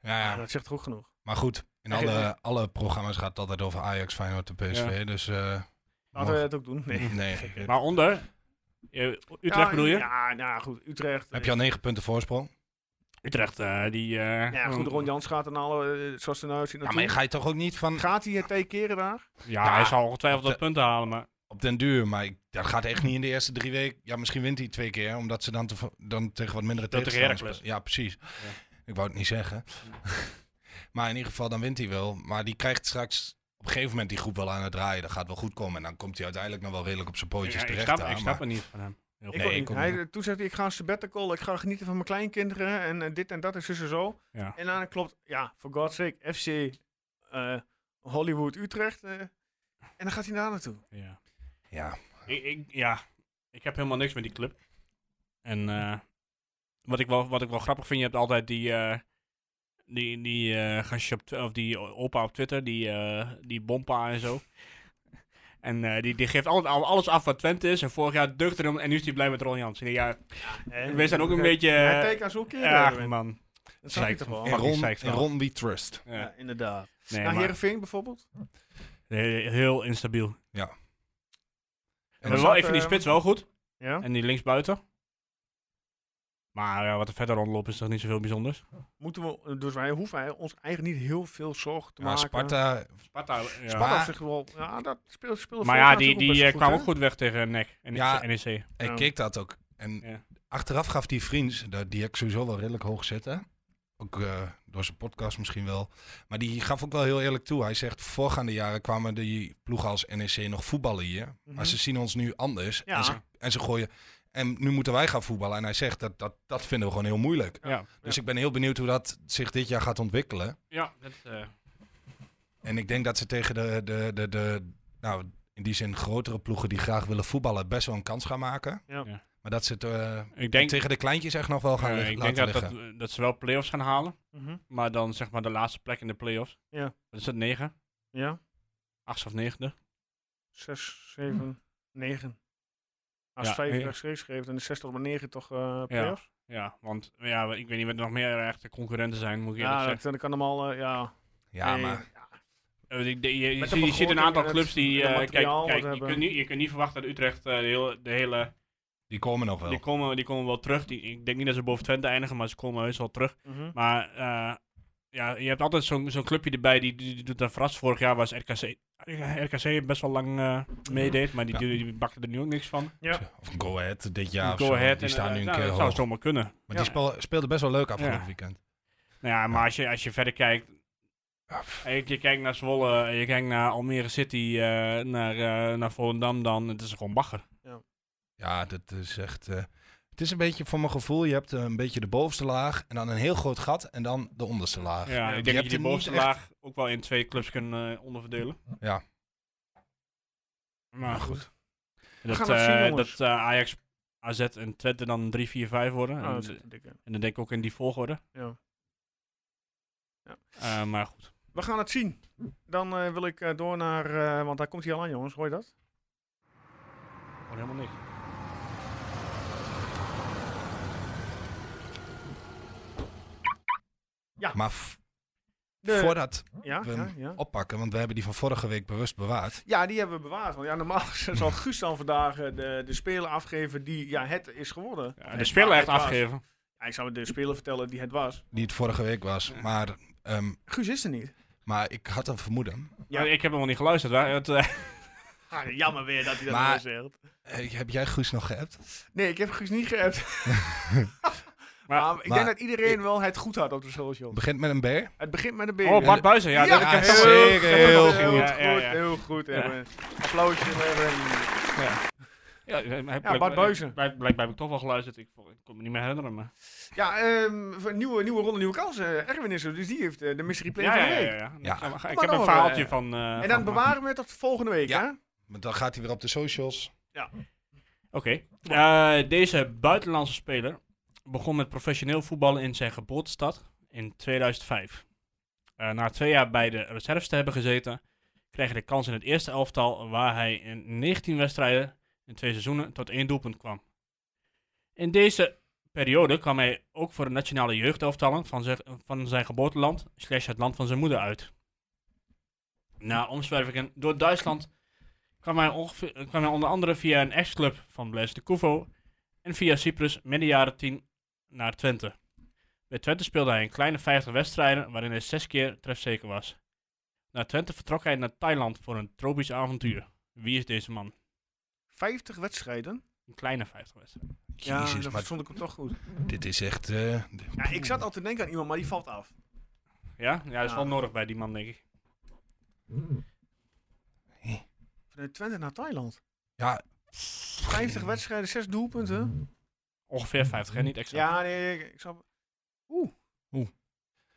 S1: Ja,
S4: ja.
S1: dat zegt goed genoeg.
S4: Maar goed, in alle, alle programma's gaat het altijd over Ajax, Feyenoord en PSV. Dus eh,
S1: Laten we
S4: Nog.
S1: het ook doen. Nee.
S4: nee.
S5: Maar onder, eh, Utrecht
S1: Ja,
S5: bedoel je?
S1: Ja, nou goed. Utrecht.
S4: Heb je al negen punten voorsprong?
S5: Utrecht, eh, die... eh,
S1: Ja, goed. Ron Jans gaat er nou, eh, zoals het er nou uitziet,
S4: Oh. Ja, maar
S1: naartoe.
S4: ga je toch ook niet van
S1: Gaat hij het twee keren daar?
S5: Ja,
S4: Ja.
S5: hij zal ongetwijfeld wat
S4: De-
S5: punten halen, maar...
S4: op den duur, maar ik, dat gaat echt niet in de eerste drie weken. Ja, misschien wint hij twee keer, omdat ze dan, te, dan tegen wat mindere
S5: tegen
S4: tegenstanders
S5: Heracles.
S4: spelen. Ja, precies. Ik wou het niet zeggen. maar in ieder geval, dan wint hij wel. Maar die krijgt straks op een gegeven moment die groep wel aan het draaien. Dat gaat wel goed komen. En dan komt hij uiteindelijk nog wel redelijk op zijn pootjes
S5: Ja, ik
S4: terecht.
S5: snap,
S4: daar,
S5: ik
S4: maar-
S5: snap het niet van hem. Heel
S1: Ik
S5: goed.
S4: Nee,
S1: ook
S4: ik
S1: niet.
S4: ook
S1: hij, toen zegt hij, ik ga een sabbatical, ik ga genieten van mijn kleinkinderen en eh, dit en dat en zus en zo.
S5: Ja.
S1: En dan klopt, ja, for God's sake, FC eh, Hollywood Utrecht. eh, en dan gaat hij daar naartoe.
S5: Ja.
S4: Ja,
S5: Ik, ik, ja, ik heb helemaal niks met die club. En eh, wat, ik wel, wat ik wel grappig vind, je hebt altijd die, eh, die, die eh, gastje op, tw- of die opa op Twitter, die, eh, die bompa en zo. En eh, die, die geeft altijd al- alles af wat Twente is. En vorig jaar deugde hem en nu is hij blij met Ron Jansen. Ja, we zijn ook een beetje...
S1: Hij
S5: eh,
S1: kijkt aan zo'n keer.
S5: ja,
S1: eh,
S5: man.
S1: dat zag Oh, ik toch
S5: Zeik.
S1: wel.
S4: en
S1: Ja,
S5: Fucking
S4: Ron,
S5: seks
S4: en
S5: wel.
S4: Ron we trust.
S5: Ja.
S1: inderdaad.
S5: Nee,
S1: nou,
S5: maar
S1: Heerenveen bijvoorbeeld.
S5: he- heel instabiel.
S4: En
S1: dan
S5: Maar wel,
S1: zat,
S5: ik vind die
S1: eh,
S5: spits wel goed.
S1: Ja.
S5: En die linksbuiten. Maar ja, wat er verder rondloopt is toch niet zoveel bijzonders.
S1: Moeten we, dus wij hoeven hij- ons eigenlijk niet heel veel zorgen te
S4: Ja,
S1: maken.
S4: Sparta,
S5: Sparta,
S1: Sparta
S4: Maar-
S1: op zich wel, ja, dat speelt speelde
S5: Maar
S1: vorig
S5: ja,
S1: jaar
S5: die,
S1: toch best
S5: die eh,
S1: goed,
S5: kwam
S1: hè?
S5: ook goed weg tegen E NEC en
S4: Ja.
S5: NEC.
S4: ik
S1: Ja.
S4: keek dat ook. En
S5: Ja.
S4: achteraf gaf die vriend, dat- die heb ik sowieso wel redelijk hoog zitten. Ook eh, door zijn podcast misschien wel. Maar die gaf ook wel heel eerlijk toe. Hij zegt, voorgaande jaren kwamen die ploegen als NEC nog voetballen hier.
S1: Mhm.
S4: Maar ze zien ons nu anders.
S1: Ja.
S4: En, ze, en ze gooien... En nu moeten wij gaan voetballen. En hij zegt, dat, dat, dat vinden we gewoon heel moeilijk.
S5: Ja,
S4: Dus ik ben heel benieuwd hoe dat zich dit jaar gaat ontwikkelen.
S5: ja dat, eh,
S4: En ik denk dat ze tegen de, de, de, de nou, in die zin grotere ploegen die graag willen voetballen, best wel een kans gaan maken.
S1: Ja.
S5: Ja.
S4: Maar dat ze het eh,
S5: ik denk,
S4: tegen de kleintjes echt nog wel gaan
S5: eh,
S4: lig-
S5: ik
S4: laten
S5: denk dat,
S4: liggen.
S5: dat, dat ze wel play-offs gaan halen.
S1: Mhm.
S5: Maar dan zeg maar de laatste plek in de play-offs.
S1: Ja.
S5: Dat is het 9,
S1: Ja,
S5: 8 of 9.
S1: 6,
S4: Mhm.
S1: 7, 9. Als
S5: Ja,
S1: 5
S5: eh.
S1: rechtstreeks geeft en de 60 op een 9 toch eh
S5: Ja.
S1: playoffs?
S5: ja, want ja, ik weet niet wat er nog meer echte concurrenten zijn, moet ik
S1: Ja,
S5: eerlijk
S1: dat,
S5: zeggen.
S1: dat kan allemaal, eh, ja.
S4: Ja,
S1: Nee.
S4: maar
S5: Eh, die- die- je je
S1: Met de
S5: ziet- je ziet een
S1: begroting
S5: aantal
S1: en het-
S5: clubs die...
S1: en het
S5: eh,
S1: materiaal wat
S5: kijk, kijk
S1: we
S5: je,
S1: hebben.
S5: kunt niet, je kunt niet verwachten dat Utrecht eh, de hele... De hele
S4: die komen nog wel.
S5: die, komen, die komen wel terug. Die, ik denk niet dat ze boven Twente eindigen, maar ze komen heus wel terug.
S1: Mhm.
S5: Maar eh, ja, je hebt altijd zo'n zo'n clubje erbij die, die, die doet dan verrast. Vorig jaar was RKC, RKC best wel lang eh, meedeed, maar die, die, die bakte er nu ook niks van.
S4: Of Go Ahead dit jaar. of
S5: Go
S4: zo.
S5: Ahead
S4: die
S5: en,
S4: staan
S5: eh,
S4: nu een
S5: nou,
S4: keer
S5: dat
S4: hoog.
S5: zou zomaar kunnen.
S4: Maar
S1: Ja.
S4: die speel- speelde best wel leuk afgelopen
S5: Ja.
S4: weekend.
S5: Nou ja, maar als je, als je verder kijkt,
S4: Ja, pff.
S5: en je, je kijkt naar Zwolle, en je kijkt naar Almere City, eh, naar, eh, naar Volendam dan, het is gewoon bagger.
S4: Ja, dat is echt... eh, het is een beetje voor mijn gevoel, je hebt eh, een beetje de bovenste laag en dan een heel groot gat en dan de onderste laag.
S5: Ja, ik
S4: je
S5: denk
S4: hebt
S5: dat je
S4: er
S5: de bovenste
S4: niet echt-
S5: laag ook wel in twee clubs kunt eh, onderverdelen.
S4: Ja.
S5: Maar goed. Dat,
S1: gaan het
S5: eh,
S1: zien,
S5: dat
S1: jongens.
S5: eh, Ajax, AZ en Twente dan 3, 4, 5 worden.
S1: Ah,
S5: En
S1: dat
S5: de-
S1: is een dikke.
S5: En dan denk ik ook in die volgorde.
S1: Ja.
S5: Eh, maar goed.
S1: We gaan het zien. Dan eh, wil ik eh, door naar, eh, want daar komt hij al aan jongens, hoor je dat?
S5: Gewoon Oh, helemaal niks.
S4: Maar v-
S1: De-
S4: voordat
S1: Ja,
S4: we
S1: ja,
S4: hem
S1: ja.
S4: oppakken, want we hebben die van vorige week bewust bewaard.
S1: Ja, die hebben we bewaard. Want ja, normaal zal Guus dan vandaag eh, de, de speler afgeven die ja, het is geworden.
S5: Ja,
S1: Of
S5: Eh, de
S1: het
S5: speler
S1: wa-
S5: echt
S1: het was.
S5: afgeven.
S1: Ja, ik zou de speler vertellen die het was.
S4: Die het vorige week was. Maar, ehm,
S1: Guus is er niet.
S4: maar ik had een vermoeden.
S1: Ja.
S5: Maar Ik heb hem al niet geluisterd. Waar? Het, eh,
S1: Ah, jammer weer dat hij dat
S4: Maar-
S1: weer zegt.
S4: Eh, heb jij Guus nog geappt?
S1: Nee, ik heb Guus niet geappt.
S5: maar,
S1: Maar ik denk
S4: maar-
S1: dat iedereen wel het goed had op de social.
S4: Het begint met een B.
S1: Het begint met een beer.
S5: oh, Bart Buizen. Ja, dat
S4: ja,
S5: ik
S4: heel
S5: zeker.
S4: goed, heel goed.
S1: Heel
S5: Ja, ja,
S1: goed,
S5: ja.
S1: heel goed.
S5: Ja.
S1: Erwin. Applausje. Erwin.
S5: Ja, eh, heb-
S1: Ja, Bart
S5: blijk-
S1: Buijzen.
S5: blijk- Blijkbaar heb ik toch wel geluisterd. Ik, vo- ik kon me niet meer herinneren. Maar.
S1: Ja, ehm, voor een nieuwe, nieuwe ronde, nieuwe kansen. Erwin is er, dus die heeft eh, de mystery play
S5: Ja,
S1: van
S5: ja,
S1: de week.
S5: ja, ja, ja.
S4: Ja.
S5: Ik heb- Ik
S1: Kom
S5: heb
S1: maar
S5: een
S1: door,
S5: verhaaltje
S1: eh.
S5: van... eh,
S1: En
S5: van-
S1: dan bewaren we het tot volgende week,
S4: Ja.
S1: hè?
S4: Maar dan gaat hij weer op de socials.
S5: Oké. Eh, deze buitenlandse speler begon met professioneel voetballen in zijn geboortestad in 2005. Eh, eh, na twee jaar bij de reserves te hebben gezeten, kreeg hij de kans in het eerste elftal, waar hij in 19 wedstrijden in twee seizoenen tot één doelpunt kwam. In deze periode kwam hij ook voor de nationale jeugdelftallen van zijn, van zijn geboorteland, slash het land van zijn moeder uit. Na omzwervingen door Duitsland kwam hij, ongeveer, kwam hij onder andere via een ex-club van Blaise de Couvo en via Cyprus midden jaren 10 naar Twente. Bij Twente speelde hij een kleine 50 wedstrijden waarin hij zes keer trefzeker was. Na Twente vertrok hij naar Thailand voor een tropisch avontuur. Wie is deze man?
S1: 50 wedstrijden?
S5: Een kleine 50 wedstrijden.
S1: ja,
S4: Jezus,
S1: dat
S4: maar
S1: vond ik hem toch goed.
S4: dit is echt... eh, d-
S1: Ja, ik zat al te denken aan iemand, maar die valt af.
S5: Ja? Ja, dat is
S1: Ja.
S5: wel nodig bij die man, denk ik.
S1: Vanuit Twente naar Thailand.
S4: ja,
S1: 50 wedstrijden, 6 doelpunten.
S5: Ongeveer 50, hè? Niet exact.
S1: Ja, nee, ik, ik snap.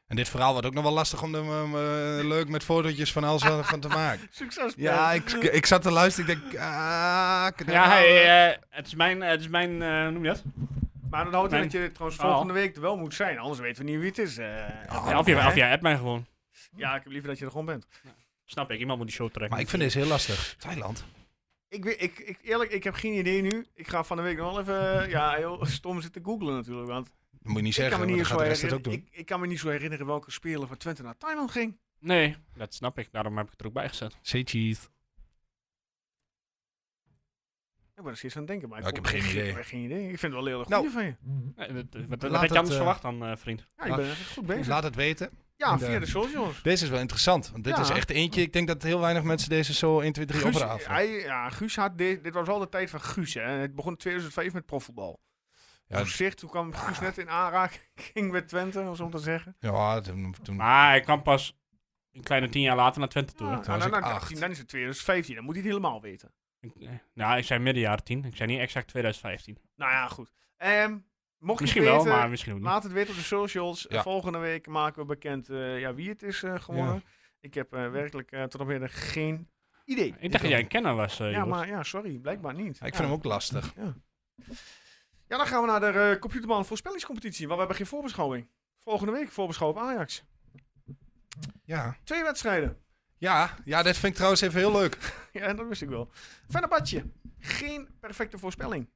S4: en dit verhaal wordt ook nog wel lastig om er eh, eh, leuk met fotootjes van alles van van te maken.
S1: Succes,
S4: Ja,
S1: Ben.
S4: ik, ik zat te luisteren. Ik denk... Ah,
S5: Ja,
S4: kn-
S5: hij, eh, het is mijn, het is mijn eh, hoe noem je dat?
S1: Maar dat houdt in
S5: Mijn-
S1: dat je er trouwens
S5: Oh.
S1: volgende week er wel moet zijn, anders weten we niet wie het is. eh.
S5: ja, of, jij, of jij appt mij gewoon.
S1: Ja, ik heb liever dat je er gewoon bent.
S5: Snap ik, iemand moet die show trekken.
S4: Maar ik vind deze heel lastig. Thailand.
S1: Ik, weet, ik, ik, eerlijk, ik heb geen idee nu. Ik ga van de week nog wel even eh, ja, heel stom zitten googlen natuurlijk. Want
S4: Dat moet je niet
S1: ik
S4: zeggen,
S1: kan, me
S4: want
S1: niet
S4: dan
S1: zo
S4: gaat de rest het ook
S1: herinneren, ik,
S4: doen.
S1: ik kan me niet zo herinneren welke speler van Twente naar Thailand ging.
S5: Nee, dat snap ik. Daarom heb ik het er ook bij gezet.
S4: Say cheese.
S1: Ik ben er steeds aan het denken, maar ik,
S4: Ja, Nou, ik
S1: kom-
S4: heb geen idee.
S1: Ik heb geen idee. Ik vind het wel heel erg
S4: Nou.
S1: goed van je.
S5: Nee, dat, dat, dat
S4: Laat
S5: had
S4: het,
S5: je anders
S4: eh,
S5: verwacht dan, eh, vriend.
S1: Ja, ik ben echt goed bezig.
S4: Laat het weten.
S1: ja,
S4: nou, in de-
S1: via de socials.
S4: Deze is wel interessant. Want dit
S1: Ja.
S4: is echt eentje. Ik denk dat heel weinig mensen deze zo 1, 2, 3
S1: Guus,
S4: opraven.
S1: hij, ja, Guus had dit, dit was al de tijd van Guus. Hè. Het begon in 2005 met profvoetbal.
S4: Ja,
S1: Ja, op zich, toen kwam Guus net in aanraking met Twente, om zo te zeggen.
S4: Ja, toen, toen-
S5: Maar hij kwam pas een kleine tien jaar later naar Twente toe.
S1: Ja,
S5: hè?
S4: toen was
S1: nou,
S4: ik
S1: nou,
S4: acht.
S1: 18, dan is het 2015, dan moet hij het helemaal weten.
S5: Ik- eh, Nou, ik zei midden jaren tien. Ik zei niet exact 2015.
S1: Nou ja, goed. Ehm, mocht
S5: Misschien
S1: je het
S5: wel,
S1: weten,
S5: maar misschien ook niet.
S1: laat het weten op de socials.
S4: Ja.
S1: Volgende week maken we bekend eh, ja, wie het is eh, geworden. Ik heb eh, werkelijk eh, tot op heden geen idee.
S5: Ik dacht dat jij een kenner was,
S1: Ja,
S5: eh, Joris.
S1: maar ja, sorry, blijkbaar niet.
S4: Ja, ik
S1: ja.
S4: vind hem ook lastig.
S1: Ja, dan gaan we naar de eh, Computerman voorspellingscompetitie, want we hebben geen voorbeschouwing. Volgende week voorbeschouw op Ajax.
S4: Ja.
S1: Twee wedstrijden.
S4: Ja, ja, dit vind ik trouwens even heel leuk.
S1: Ja, dat wist ik wel. Fenerbahce, geen perfecte voorspelling.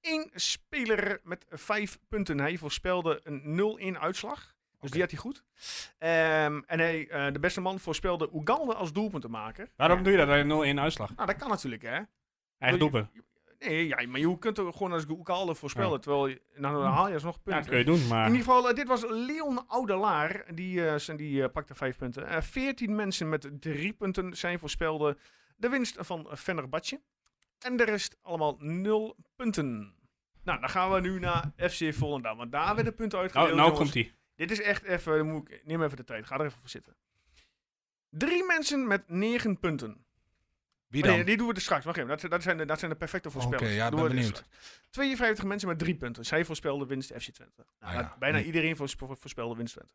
S1: Eén speler met vijf punten. Hij voorspelde een 0-1 uitslag. Dus die had hij goed. Ehm, en hij, eh, de beste man voorspelde Oeganda als doelpuntenmaker.
S5: Waarom doe je dat bij 0-1 uitslag?
S1: Nou, dat kan natuurlijk, hè?
S5: Eigen
S1: Wil Oh, je-
S5: doelpunt.
S1: Nee, ja, maar je kunt ook gewoon als Oeganda voorspellen.
S5: Ja.
S1: Terwijl je, nou, dan haal je alsnog
S5: Ja, dat
S1: punten.
S5: kun je doen,
S4: Ah.
S5: maar...
S1: In ieder geval, eh, dit was Leon Oudelaar. Die, eh, zijn- die eh, pakte vijf punten. Eh, Veertien mensen met drie punten zijn voorspelde de winst van Fenerbahce. En de rest allemaal nul punten. Nou, dan gaan we nu naar FC Volendam. Want daar werden punten uitgedeeld.
S5: Nou, nou
S1: jongens.
S5: komt hij.
S1: Dit is echt even... dan Moet ik, neem even de tijd. Ga er even voor zitten. Drie mensen met negen punten.
S4: Wie
S1: Oh,
S4: dan?
S1: nee, die doen we er straks. Wacht even. Dat, zijn- dat, zijn, de, dat zijn de perfecte voorspellers.
S4: Oké, ja,
S1: Doen
S4: ben
S1: we er
S4: benieuwd.
S1: straks. 52 mensen met drie punten. Zij voorspelde winst FC Twente. Nou,
S4: Ah, ja.
S1: dat- Bijna
S4: Nee.
S1: iedereen voors- vo- voorspelde winst Twente.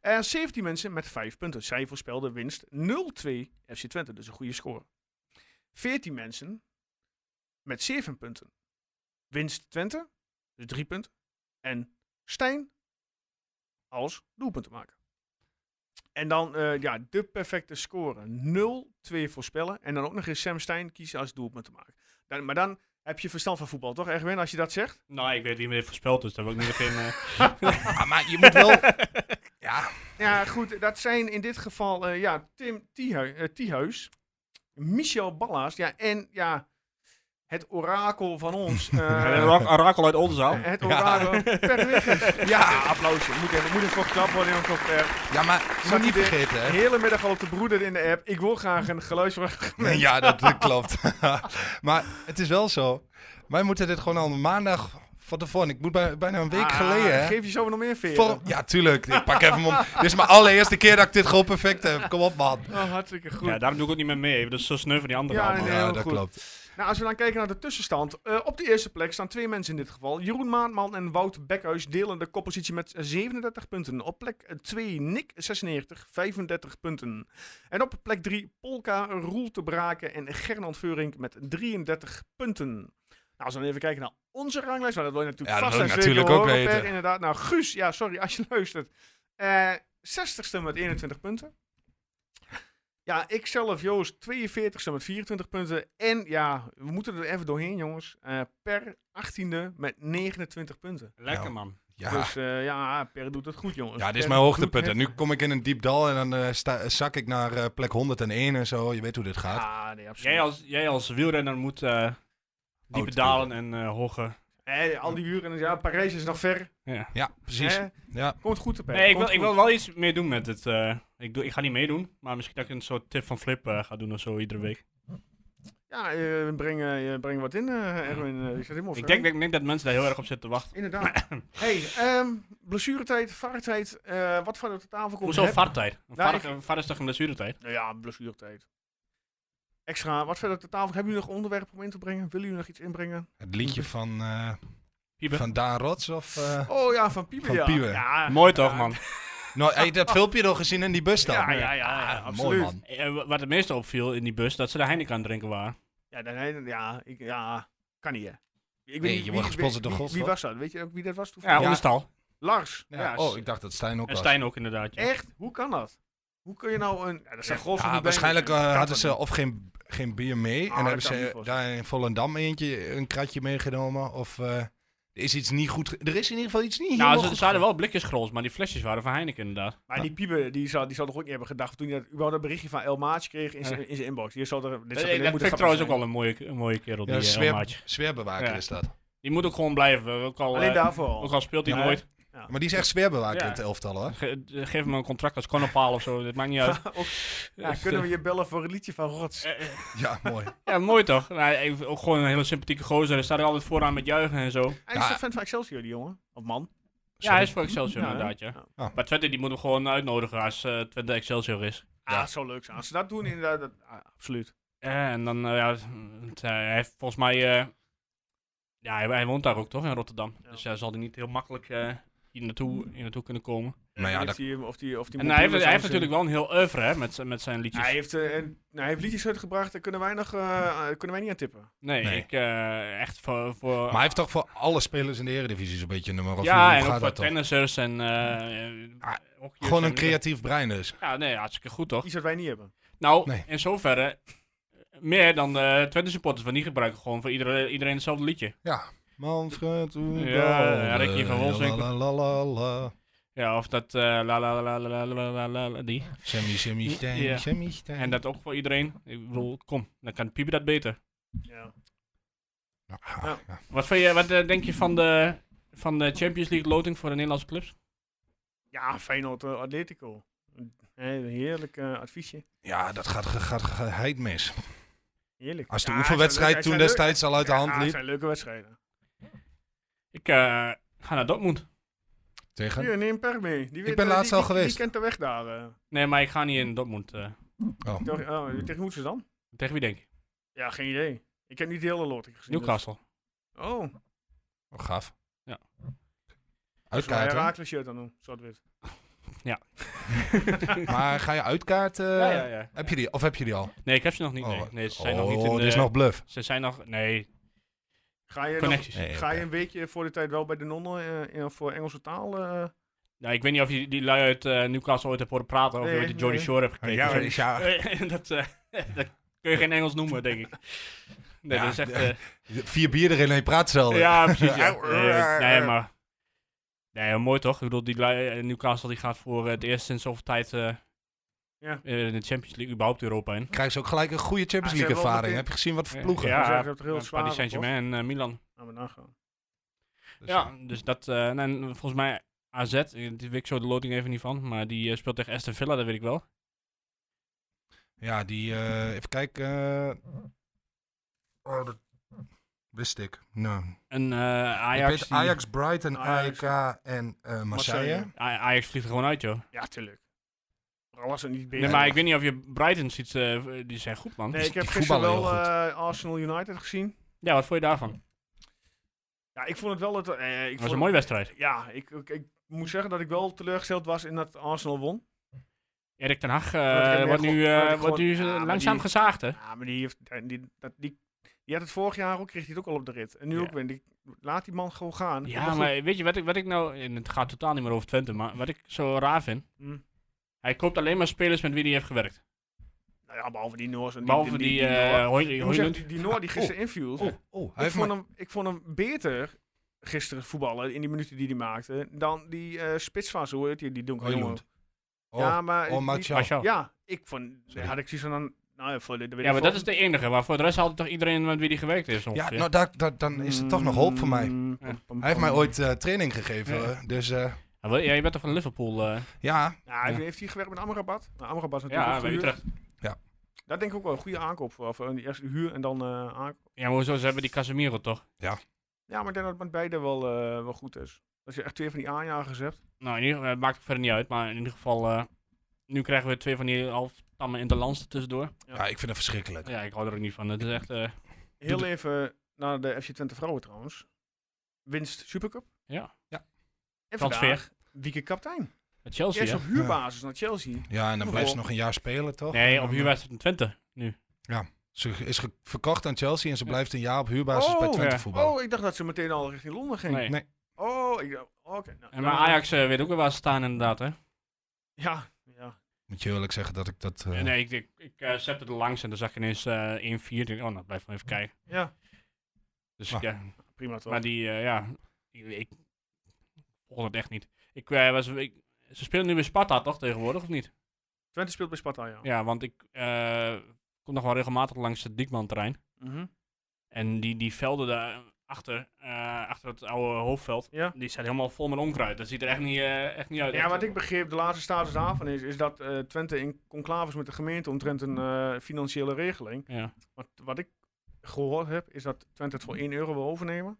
S1: Eh 17 mensen met vijf punten. Zij voorspelde winst 0-2 FC Twente. Dus een goede score. 14 mensen met zeven punten. Winst Twente. Dus drie punten. En Stijn als doelpunten maken. En dan eh, ja, de perfecte score. 0-2 voorspellen. En dan ook nog eens Sam Stein kiezen als doelpunt te maken. Dan, maar dan heb je verstand van voetbal, toch, Erwin, als je dat zegt?
S5: Nou, ik weet wie me heeft voorspeld, dus daar wil ik niet in...
S4: Ah, maar je moet wel... Ja,
S1: Ja, goed. Dat zijn in dit geval eh, ja, Tim Tiehu- eh, Tiehuis, Michel Ballas ja, en ja, het orakel van ons. eh,
S5: Arakel uit Oldenzaal.
S1: het orakel Per Wiggers. Ja, applausje. Moet even, moet even voor geklapt worden, jongens. op Per.
S4: ja maar moet
S1: Zat
S4: niet
S1: hij er-
S4: vergeten,
S1: De
S4: hè.
S1: hele middag al op de broeder in de app. Ik wil graag een geluidsvraag.
S4: Ja, dat, dat klopt. maar het is wel zo. Wij moeten dit gewoon al maandag van tevoren. Ik moet bij, bijna een week geleden, hè.
S1: Geef je zo nog Ah, meer veren.
S4: Vol- ja, tuurlijk. Ik pak even mijn... Dit is mijn allereerste keer dat ik dit gewoon perfect heb. Kom op, man.
S1: Oh, hartstikke goed.
S5: Ja, daarom doe ik ook niet meer mee. Dat is zo sneu van die andere
S1: Ja,
S5: allemaal.
S1: nee.
S4: Ja,
S1: heel
S4: dat
S1: goed.
S4: klopt.
S1: Nou, als we dan kijken naar de tussenstand. eh, op de eerste plek staan twee mensen in dit geval. Jeroen Maatman en Wout Bekhuis delen de koppositie met 37 punten. Op plek 2 Nick 96, 35 punten. En op plek 3 Polka, Roel te Braken en Gernand Veurink met 33 punten. Nou, als we dan even kijken naar onze ranglijst. Nou, dat wil je natuurlijk
S4: Ja, dat
S1: vast
S4: wil
S1: en
S4: ik
S1: zeker
S4: natuurlijk ook
S1: horen, Per,
S4: weten.
S1: inderdaad. Nou, Guus, ja, sorry als je luistert. Eh, 60ste met 21 punten. Ja, ikzelf, Joost, 42ste met 24 punten. En ja, we moeten er even doorheen, jongens. Eh, per 18e met 29 punten.
S5: Lekker
S4: Nou.
S5: man.
S4: Ja,
S1: Dus eh, ja, Per doet het goed, jongens.
S4: ja dit is
S1: Per
S4: mijn
S1: doet
S4: hoogtepunt.
S1: het
S4: En nu kom ik in een diep dal en dan eh, sta- eh, zak ik naar eh, plek 101 en zo. Je weet hoe dit gaat.
S1: Ja, Ah, nee, absoluut.
S5: Jij als, jij als wielrenner moet eh, diepe
S4: Oud
S5: dalen en eh, hoge.
S1: Eh, al die uren, ja, Parijs is nog ver.
S4: Ja, precies.
S1: Eh,
S4: Ja.
S1: komt goed, Per.
S5: Nee, ik wil,
S1: komt
S5: ik
S1: goed.
S5: wil wel iets meer doen met het. eh, ik, doe, ik ga niet meedoen, maar misschien dat ik een soort tip van Flip eh, ga doen of zo iedere week.
S1: Ja, eh, breng, eh, breng wat in, eh, Erwin. Eh, je staat helemaal
S5: Ik
S1: vrij.
S5: denk, ik denk dat mensen daar heel erg op zitten te wachten.
S1: Inderdaad. hey, ehm, blessuretijd, vaartijd, eh, wat van de tafel komt.
S5: Hoezo
S1: heb-
S5: vartijd? Een
S1: Nou,
S5: var,
S1: ik-
S5: een var is toch een blessuretijd?
S1: Nou ja, blessuretijd. Extra, wat verder ter tafel? Hebben jullie nog onderwerpen om in te brengen? Willen jullie nog iets inbrengen?
S4: Het liedje van, eh,
S5: Piepen.
S4: van Daan Rots of... eh,
S1: Oh ja, van Pieper.
S4: Van
S1: ja.
S4: Pieper.
S1: Ja,
S5: Mooi toch, man?
S4: Nou, heb je dat filmpje nog gezien in die bus dan?
S1: Ja, ja, ja, ja,
S4: Ah,
S1: absoluut.
S4: Mooi man.
S5: Eh, wa- wat het meeste opviel in die bus, dat ze de Heineken aan het drinken waren.
S1: ja, dan, hij- ja, ik, ja, kan niet hè. Ik
S4: Nee, je wordt gesponsord door
S1: wie-
S4: God,
S1: Wie
S4: hoor.
S1: was dat? Weet je ook wie dat was?
S5: Ja,
S1: toevallig?
S5: onderstal.
S1: Lars.
S4: Ja,
S5: Ja,
S4: oh,
S5: s-
S4: ik dacht dat Stijn ook
S5: En
S4: was.
S5: Stijn ook inderdaad. ja.
S1: Echt? Hoe kan dat? Hoe kun je nou een... Ja, dat zijn goals
S4: Ja,
S1: van die
S4: waarschijnlijk
S1: benen.
S4: eh,
S1: Dat kan
S4: hadden
S1: toch
S4: ze
S1: niet?
S4: of geen, geen bier mee.
S1: Ah,
S4: en
S1: dat
S4: hebben
S1: kan niet
S4: ze
S1: volgens
S4: daar in Volendam eentje een kratje meegenomen. Of eh, er is iets niet goed. ge- Er is in ieder geval iets niet
S5: Nou,
S4: helemaal
S5: ze-
S4: goed
S5: ze hadden wel blikjes groot, maar die flesjes waren van Heineken inderdaad.
S1: Maar die Pieper, die zou, die zou toch ook niet hebben gedacht toen hij dat, überhaupt dat berichtje van El Maatje kreeg in zijn, in zijn inbox. Die zou er, dit zou er
S5: Eh,
S1: niet
S5: Dat
S1: moeten
S5: vind ik trouwens ook
S1: gaan
S5: wel een mooie, een mooie kerel, die
S4: Ja,
S5: eh,
S4: sfeer,
S5: maatje.
S4: sfeerbewaker
S5: Ja.
S4: is dat.
S5: Die moet ook gewoon blijven, ook al,
S1: Alleen
S5: eh,
S1: daarvoor
S5: ook
S1: al.
S5: al speelt hij
S1: Ja.
S5: nooit.
S4: Maar die is echt sfeerbewaker
S5: Ja.
S4: in het elftal hoor.
S5: Ge- eh, geef hem een contract als Konopaal of zo, dat maakt niet uit.
S1: Ook- ja,
S5: Dus,
S1: kunnen we
S5: eh,
S1: je bellen voor een liedje van Rots?
S5: eh, eh,
S4: Ja, mooi.
S5: Ja, mooi toch? Nou, hij- ook gewoon een hele sympathieke gozer, hij staat er altijd vooraan met juichen en zo.
S1: Hij is
S4: Ja.
S1: toch fan van Excelsior, die jongen? Of man?
S5: Ja, hij is voor Excelsior
S1: Ja, hè?
S5: inderdaad, ja.
S4: Ja.
S5: Maar Twente, die moet hem gewoon uitnodigen als eh, Twente Excelsior is.
S1: Ah, het zou leuk zijn. Als ze dat doen, inderdaad, dat- ah, absoluut.
S5: Ja, en dan, eh, ja, het- het, eh, hij heeft volgens mij, eh, ja, hij, hij woont daar ook toch, in Rotterdam.
S1: Ja.
S5: Dus hij zal hij niet heel makkelijk eh, hier, naartoe, hier naartoe kunnen komen.
S4: Nou ja,
S1: En
S4: dat-
S1: of die, of die, of die
S5: En hij heeft,
S1: mobiel
S5: hij
S1: is anders
S5: heeft natuurlijk wel een heel oeuvre, hè, met, zijn- met zijn
S1: in.
S5: liedjes.
S1: Hij heeft, eh, een- nou, hij heeft liedjes uitgebracht, daar kunnen wij, nog, eh, eh, kunnen wij niet aan tippen.
S5: nee,
S4: Nee.
S5: ik, eh, echt voor... voor
S4: Maar hij heeft toch voor alle spelers in de eredivisie zo'n beetje een nummer. Of
S5: ja,
S4: hoe
S5: en ook
S4: gaat
S5: voor
S4: dat toch?
S5: tennissers en... eh, eh,
S4: Ah,
S5: hockeyers
S4: Gewoon een
S5: en-
S4: creatief brein dus.
S5: Ja, nee, hartstikke goed toch?
S1: Iets wat wij niet hebben.
S5: Nou,
S4: Nee.
S5: in zoverre, meer dan de Twente supporters, want die gebruiken gewoon voor iedereen, iedereen hetzelfde liedje.
S4: Ja. Manfred
S5: Ja, ja, Ricky van Wolfswinkel.
S4: Wolfswinkel.
S5: Ja, of dat eh, la la la la la la la la la, die.
S4: Sammy, Sammy,
S5: Ja.
S4: Stijn, Sammy, Stijn.
S5: En dat ook voor iedereen. Ik bedoel, kom, dan kan Pieper dat beter.
S1: Ja.
S4: Ja,
S1: Ja.
S4: ja.
S5: Wat, vind je, wat eh, denk je van de, van de Champions League loting voor de Nederlandse clubs?
S1: Ja, Feyenoord eh, Atletico. Een een heerlijk eh, adviesje.
S4: Ja, dat gaat, ge- gaat geheid mis.
S1: Heerlijk.
S4: Als de
S1: Ja,
S4: oefenwedstrijd
S1: het zijn
S4: toen
S1: leuke- het zijn
S4: destijds al uit de
S1: leuke-
S4: hand
S1: ja, het
S4: liep.
S1: zijn leuke wedstrijden.
S5: Ik eh, ga naar Dortmund.
S4: Tegen?
S1: Hier, neem Per mee. Die weet-
S4: ben
S1: eh,
S4: laatst
S1: die-
S4: al
S1: die-
S4: geweest.
S1: Die kent de weg daar. eh.
S5: Nee, maar ik ga niet in Dortmund. eh.
S4: Oh.
S1: Tegen, oh, tegen hoe ze dan?
S5: tegen wie denk je?
S1: Ja, geen idee. Ik heb niet de hele loting gezien. dus-
S5: Newcastle.
S1: Oh,
S4: Oh, gaaf.
S5: Ja.
S1: Uitkaarten.
S4: Uitkaarten.
S1: shirt aan doen, zwart-wit.
S4: Maar ga je uitkaarten?
S5: ja, ja, ja.
S4: Heb je die, of heb je die al?
S5: Nee, ik heb ze nog niet. Nee,
S4: Oh,
S5: nee ze zijn
S4: oh,
S5: nog niet in de...
S4: dit is nog bluff.
S5: Ze zijn nog... Nee,
S1: Ga je, dan,
S5: connecties.
S4: Nee,
S1: ga
S4: oké.
S1: je een weekje voor de tijd wel bij de nonnen eh, in- voor Engelse taal? eh?
S5: Nou, ik weet niet of je die lui uit eh, Newcastle ooit hebt horen praten. Of je
S1: Nee,
S5: ooit de Jordy
S1: nee.
S5: Shore hebt gekeken.
S4: Ja,
S5: of zo.
S4: ja.
S5: Eh, dat, eh, dat kun je geen Engels noemen, denk ik. Nee,
S4: Ja,
S5: dat is echt...
S4: ja.
S5: eh,
S4: Vier bier erin en je praat hetzelfde.
S5: Ja, precies. Ja.
S4: Ja.
S5: Nee, nee, maar. Nee, mooi toch? Ik bedoel, die lui- eh, Newcastle die gaat voor eh, het eerst sinds zoveel tijd. eh,
S1: Ja.
S5: eh, in de Champions League, überhaupt Europa in.
S4: Krijgen ze ook gelijk een goede
S1: Ah, ze
S4: Champions
S1: hebben
S4: League
S1: wel
S4: ervaring.
S1: meteen-
S4: Heb je gezien wat voor
S5: Ja,
S4: ploegen?
S1: Dan
S5: Ja,
S1: zeggen ze toch heel
S5: eh,
S1: zwaar Nou,
S5: Paris
S1: op,
S5: Saint-Germain en eh, Milan.
S1: Laten we nagaan.
S4: Dus,
S5: ja, dus dat. eh, en, en volgens mij AZ, eh, die weet ik zo de loting even niet van. Maar die eh, speelt tegen Aston Villa, dat weet ik wel.
S4: ja, die... eh, even kijken. eh, oh, dat wist ik. Nou.
S5: En eh,
S4: Ik
S5: Ajax.
S4: weet
S5: die-
S4: Ajax, Brighton,
S1: Ajax.
S4: AEK en eh, Marseille.
S1: Marseille.
S5: A- Ajax vliegt er gewoon uit, joh.
S1: Ja, tuurlijk. Vooral als het niet beter
S5: Nee, maar ik weet niet of je Brighton ziet. eh, die zijn goed, man.
S1: Nee, ik heb
S4: Die
S1: gisteren
S4: voetballen
S1: wel
S4: heel
S1: eh, Arsenal United gezien.
S5: Ja, wat vond je daarvan?
S1: Ja, ik vond het wel... Het, eh, ik
S5: Het was
S1: vond
S5: een mooie wedstrijd.
S1: Ja, ik, ik, ik moet zeggen dat ik wel teleurgesteld was in dat Arsenal won.
S5: Erik ten Hag
S1: ik
S5: eh
S1: hem
S5: wordt
S1: echt
S5: nu,
S1: gewoon-
S5: eh,
S1: dat ik
S5: wordt nu
S1: gewoon- ja, maar
S5: langzaam
S1: die-
S5: gezaagd, hè?
S1: Ja, maar die, heeft, eh, die, dat, die, die had het vorig jaar ook, kreeg hij het ook al op de rit. En nu
S5: Ja.
S1: ook weer. Die, laat die man gewoon gaan.
S5: Ja, maar weet je wat ik, wat ik nou... En het gaat totaal niet meer over Twente, maar wat ik zo raar vind...
S1: Mm.
S5: Hij koopt alleen maar spelers met wie hij heeft gewerkt.
S1: Nou ja, behalve die Noors. en
S5: Behalve die, eh
S1: Noor.
S5: Hoy-
S1: Ik moet zeggen,
S5: Hoylund.
S1: die, die Noor die gisteren inviel.
S4: Oh, oh, hij
S1: ik,
S4: heeft
S1: vond
S4: maar-
S1: hem, ik vond hem beter gisteren voetballen in die minuten die hij maakte. Dan die eh, spits van zo, heet die, die donkere jongen.
S4: Hoylund. Oh,
S1: ja, maar.
S4: oh,
S1: die-
S4: Martial.
S5: Martial. Ja,
S1: ja, ik vond.
S4: Sorry.
S1: Had ik zoiets van. dan- Nou ja, voor de, weet ik
S5: maar
S1: veel.
S5: dat is de enige. Maar voor de rest had toch iedereen met wie hij gewerkt heeft
S4: Ja,
S5: ongeveer.
S4: nou, daar- daar- dan is er toch nog hoop voor mij.
S1: Mm,
S5: Ja.
S1: pam,
S4: Hij heeft mij
S1: pam.
S4: ooit eh, training gegeven,
S5: Ja.
S4: eh, dus eh,
S5: Ah, wel, ja, je bent toch van Liverpool? eh?
S4: ja.
S1: Ja, hij heeft hij gewerkt met Amrabat? Nou, Amrabat is natuurlijk
S5: ja,
S1: ook
S5: bij
S1: gehuurd.
S5: Utrecht.
S1: Dat denk ik ook wel een goede aankoop. Voor, voor een eerste huur en dan eh aankoop.
S5: Ja, maar hoezo? Ze hebben die Casemiro toch?
S1: Ja, maar ik denk dat het met beide wel, eh, wel goed is. Als je echt twee van die aanjagers hebt.
S5: Nou, in ieder geval, het maakt ook verder niet uit. Maar in ieder geval, eh, nu krijgen we twee van die halftammen interlands tussendoor.
S1: Ja.
S4: ja, ik vind het verschrikkelijk.
S5: Ja, ik hou er ook niet van. Het is echt... eh,
S1: Heel
S4: Doe
S1: even naar de FC Twente vrouwen trouwens. Winst Supercup.
S5: Ja.
S4: Ja.
S1: En
S5: Transfer.
S1: vandaag Wieke kaptein.
S5: het Chelsea,
S1: Eerst
S5: hè?
S1: op huurbasis naar Chelsea.
S4: Ja, en dan blijft ze
S1: Oh.
S4: nog een jaar spelen, toch? En
S5: Nee, op
S4: dan,
S5: huurwijs van Twente. Nu.
S4: Ze is ge- verkocht aan Chelsea en ze blijft een jaar op huurbasis
S1: Oh,
S4: bij Twente
S5: ja.
S4: voetballen.
S1: Oh, ik dacht dat ze meteen al richting Londen ging.
S5: Nee.
S4: Nee.
S1: Oh, ik dacht- oké. nou,
S5: En maar Ajax eh, weet ook wel waar ze staan inderdaad, hè?
S1: Ja, ja.
S4: Moet je eerlijk zeggen dat ik dat... eh,
S5: Nee, ik, ik, ik eh, zette er langs en dan zag je ineens eh 1-4. Ik denk, Oh, nou, blijf maar even kijken.
S1: Ja,
S5: Dus
S4: Ah.
S5: ja,
S1: prima toch.
S5: maar die, eh, ja, ik, ik volg dat echt niet. Ik, eh, was, ik, ze spelen nu bij Sparta toch tegenwoordig, of niet?
S1: Twente speelt bij Sparta, ja.
S5: Ja, want ik eh, kom nog wel regelmatig langs het Diekman-terrein.
S1: Mhm.
S5: En die, die velden daarachter, eh achter het oude hoofdveld,
S1: Ja.
S5: die zijn helemaal vol met onkruid. Dat ziet er echt niet, eh, echt niet uit.
S1: Ja, wat ik begreep, de laatste status daarvan is, is dat eh, Twente in conclave is met de gemeente omtrent een eh, financiële regeling.
S5: Ja.
S1: Wat, wat ik gehoord heb, is dat Twente het voor
S5: Mm.
S1: 1 euro wil overnemen.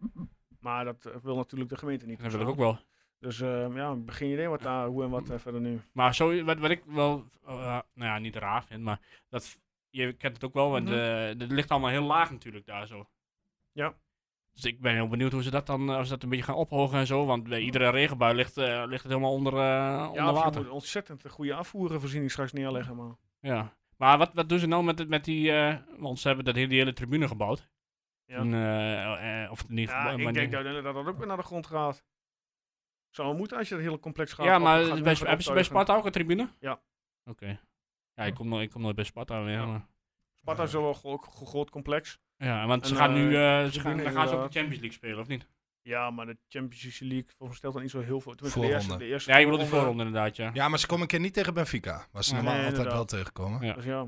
S1: Maar dat eh, wil natuurlijk de gemeente niet.
S5: Dat wil ik ook wel.
S1: Dus eh, ja, begin idee wat daar, hoe en wat eh, verder nu.
S5: Maar zo, wat, wat ik wel, eh, nou ja, niet raar vind, maar dat, je kent het ook wel, want
S1: Mhm.
S5: eh, het ligt allemaal heel laag natuurlijk daar zo.
S1: Ja.
S5: Dus ik ben heel benieuwd hoe ze dat dan, eh, als ze dat een beetje gaan ophogen en zo, want bij iedere regenbui ligt, eh, ligt het helemaal onder, eh,
S1: Ja,
S5: onder
S1: of je
S5: water.
S1: moet ontzettend een goede afvoerenvoorziening straks neerleggen. Maar
S5: Ja. Maar wat, wat doen ze nou met, het- met die, eh, want ze hebben dat hele, die hele tribune gebouwd.
S1: Ja.
S5: En, eh, eh, of niet
S1: ja,
S5: gebouwd, maar
S1: ik denk
S5: die-
S1: dat dat, dat ook weer naar de grond gaat. Zou wel moeten als je dat hele complex gaat.
S5: ja,
S1: op-
S5: maar
S1: gaat
S5: bij,
S1: doen, gaat
S5: hebben ze bij
S1: optuigen.
S5: Sparta ook een tribune?
S1: Ja.
S5: Oké. Ja, ik kom, nooit- ik kom nooit bij Sparta weer.
S1: Ja.
S5: maar-
S1: Sparta is wel een gro- gro- groot complex.
S5: Ja, want ze
S1: En,
S5: gaan nu
S1: eh,
S5: eh, ze
S1: tribune
S5: gaan, dan gaan ze ook
S1: inderdaad.
S5: de Champions League spelen, of niet?
S1: Ja, maar de Champions League volgens mij stelt dan niet zo heel veel. Tenminste, de
S4: Voorronde.
S1: eerste, de eerste
S5: Ja, je bedoelt de
S1: eh,
S5: voorronde inderdaad, ja.
S4: Ja, maar ze komen een keer niet tegen Benfica, waar ze
S5: Nee,
S4: normaal altijd
S1: inderdaad.
S4: wel tegenkomen.
S5: Ja.
S1: Dus ja.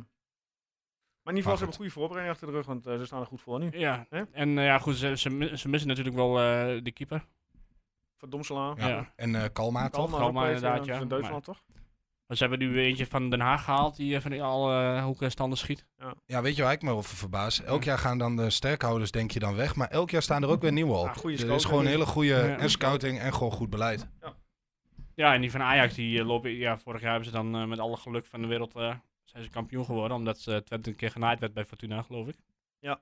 S1: Maar in ieder geval, ze
S4: Maar
S1: hebben een goede voorbereiding achter de rug, want eh, ze staan er goed voor nu.
S5: Ja,
S1: Hè?
S5: en eh, ja, goed, ze, ze, mi- ze missen natuurlijk wel eh, de keeper.
S1: Van Domselaar.
S5: Ja.
S4: Ja. En eh Kalma, toch?
S1: Kalma
S5: Kalma
S1: ook bij het,
S5: inderdaad,
S1: eh,
S5: ja.
S1: van Duitsland toch?
S5: Maar ze hebben nu eentje van Den Haag gehaald, die eh, van die alle hoeken en standen schiet.
S4: Ja, weet je waar ik me over verbaas? Elk jaar gaan dan de sterkhouders, denk je dan, weg. Maar elk jaar staan er ook weer nieuwe op.
S1: Ah,
S4: Dus
S1: goede
S4: er is
S1: scouting.
S4: gewoon een hele goede
S5: Ja.
S4: en scouting en gewoon goed beleid.
S5: Ja, en die van Ajax, die eh, lopen, ja, vorig jaar hebben ze dan eh, met alle geluk van de wereld, eh, zijn ze kampioen geworden. Omdat ze Twente een keer genaaid werd bij Fortuna, geloof ik.
S1: Ja.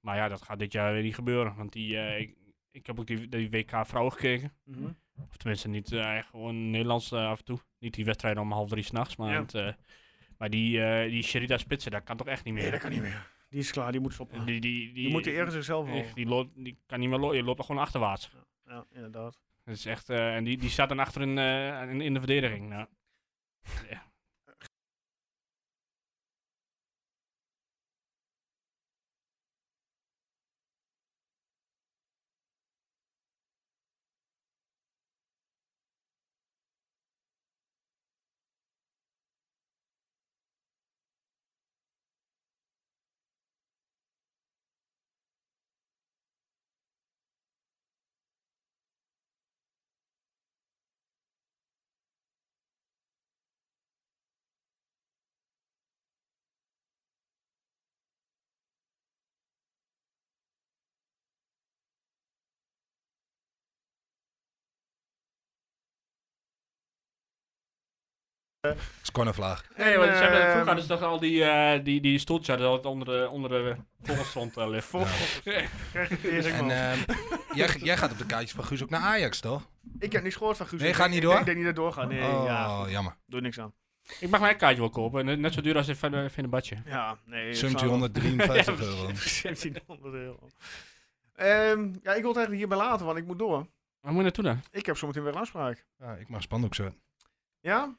S5: Maar ja, dat gaat dit jaar weer niet gebeuren, want die, eh, ik, ik heb ook die, die WK vrouwen gekeken.
S1: Mhm.
S5: Of tenminste, niet eh, gewoon Nederlands eh, af en toe. Niet die wedstrijden om half drie s'nachts. Maar,
S1: Ja.
S5: het, eh, maar die, eh, die Sherida Spitsen, dat kan toch echt niet meer? Eh,
S1: Nee, dat kan niet meer. Die is klaar, die moet stoppen.
S5: Die, die, die,
S1: Die moet de eer in zichzelf
S5: die-
S1: houden.
S5: die, loopt, die kan niet meer lopen. Je loopt er gewoon achterwaarts.
S1: Ja, inderdaad.
S5: Dat is echt, eh, en die, die staat dan achter in, eh, in, in de verdediging. Nou.
S4: Dat is cornervlaag.
S5: Nee, want ze
S1: En,
S5: hebben-
S1: eh,
S5: vroeger hadden ze toch al die, eh, die, die stoeltje dat altijd onder de, onder de vogelstrand eh, ligt.
S1: Volgens
S5: Ja.
S1: krijg ik de eerste
S4: En
S1: man.
S4: ehm, jij, jij gaat op de kaartjes van Guus ook naar Ajax, toch?
S1: Ik heb niks gehoord van Guus.
S4: Nee,
S1: Ik
S4: gaat
S1: denk-
S4: niet door?
S1: Ik denk niet dat het doorgaat. Nee,
S4: oh,
S1: ja, goed.
S4: jammer.
S1: doe niks aan.
S5: Ik mag mijn kaartje wel kopen. net- Net zo duur als in eh, Ven- Vennebadje.
S1: Ja, nee. het zou-
S4: 1753 euro.
S1: 1700 euro. Ehm, ja, ik wil het eigenlijk hierbij laten, want ik moet door.
S5: Waar moet je naartoe dan?
S1: Ik heb zometeen weer een afspraak.
S4: Ja, ik mag spandoek zo.
S1: Ja?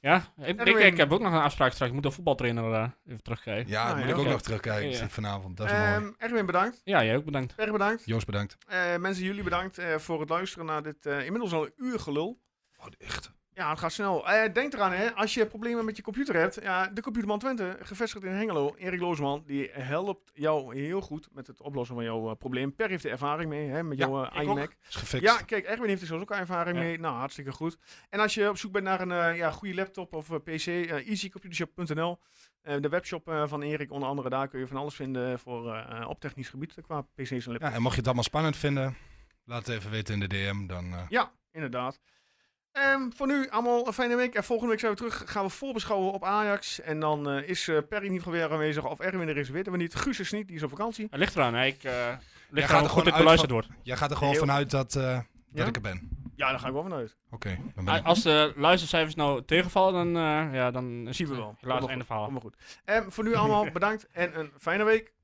S5: Ja, ik, ik,
S1: Edwin.
S5: ik heb ook nog een afspraak straks. Ik moet de voetbaltrainer eh, even terugkrijgen.
S4: Ja,
S1: Ah,
S4: moet
S1: ja,
S4: ik ook
S5: oké.
S4: nog terugkijken
S5: Ja, ja.
S4: vanavond. Dat is mooi.
S1: Ehm Erwin bedankt.
S5: Ja, jij ook bedankt.
S1: Berg bedankt.
S4: Joost, bedankt.
S1: Eh, mensen, jullie bedankt eh, voor het luisteren naar dit eh, inmiddels al een uur gelul.
S4: Oh, echt.
S1: Ja, het gaat snel. Eh, denk eraan, hè, als je problemen met je computer hebt. Ja, de Computerman Twente, gevestigd in Hengelo. Erik Loosman, die helpt jou heel goed met het oplossen van jouw eh, probleem. Per heeft er ervaring mee, hè, met
S5: Ja,
S1: jouw
S5: ik
S1: eh,
S5: ook.
S1: iMac.
S4: Is gefixt.
S1: Ja, kijk, Erwin heeft er zelfs ook ervaring
S5: Ja.
S1: mee. Nou, hartstikke goed. En als je op zoek bent naar een eh, ja, goede laptop of eh, PC, eh easycomputershop.nl. Eh, de webshop eh, van Erik, onder andere, daar kun je van alles vinden voor, eh, eh, op technisch gebied eh, qua PC's en laptops.
S4: Ja, en mocht je het allemaal spannend vinden, laat het even weten in de DM. Dan, eh,
S1: Ja, inderdaad. Ehm, voor nu allemaal een fijne week. En volgende week zijn we terug. Gaan we voorbeschouwen op Ajax. En dan eh, is eh Perry niet weer aanwezig. Of Erwin er is, weten we niet. Guus is niet, die is op vakantie.
S5: Het ligt eraan, hè. Ik, eh, het
S4: Jij
S5: ligt
S4: gaat
S5: eraan
S4: er
S5: hoe goed
S4: gewoon
S5: dit
S4: uit
S5: beluisterd
S4: van-
S5: wordt.
S4: jij gaat er gewoon
S1: Heel-
S4: vanuit dat, eh,
S1: Ja?
S4: dat ik er ben.
S1: Ja, daar ga ik wel vanuit.
S4: Oké, dan ben
S5: Ah,
S4: ik.
S5: Als de luistercijfers nou tegenvallen, dan, eh, ja, dan is
S1: Zien we
S5: het, eh,
S1: wel.
S5: helaas
S1: Kom maar
S5: einde
S1: goed,
S5: verhaal.
S1: Allemaal goed. Ehm, voor nu allemaal bedankt en een fijne week.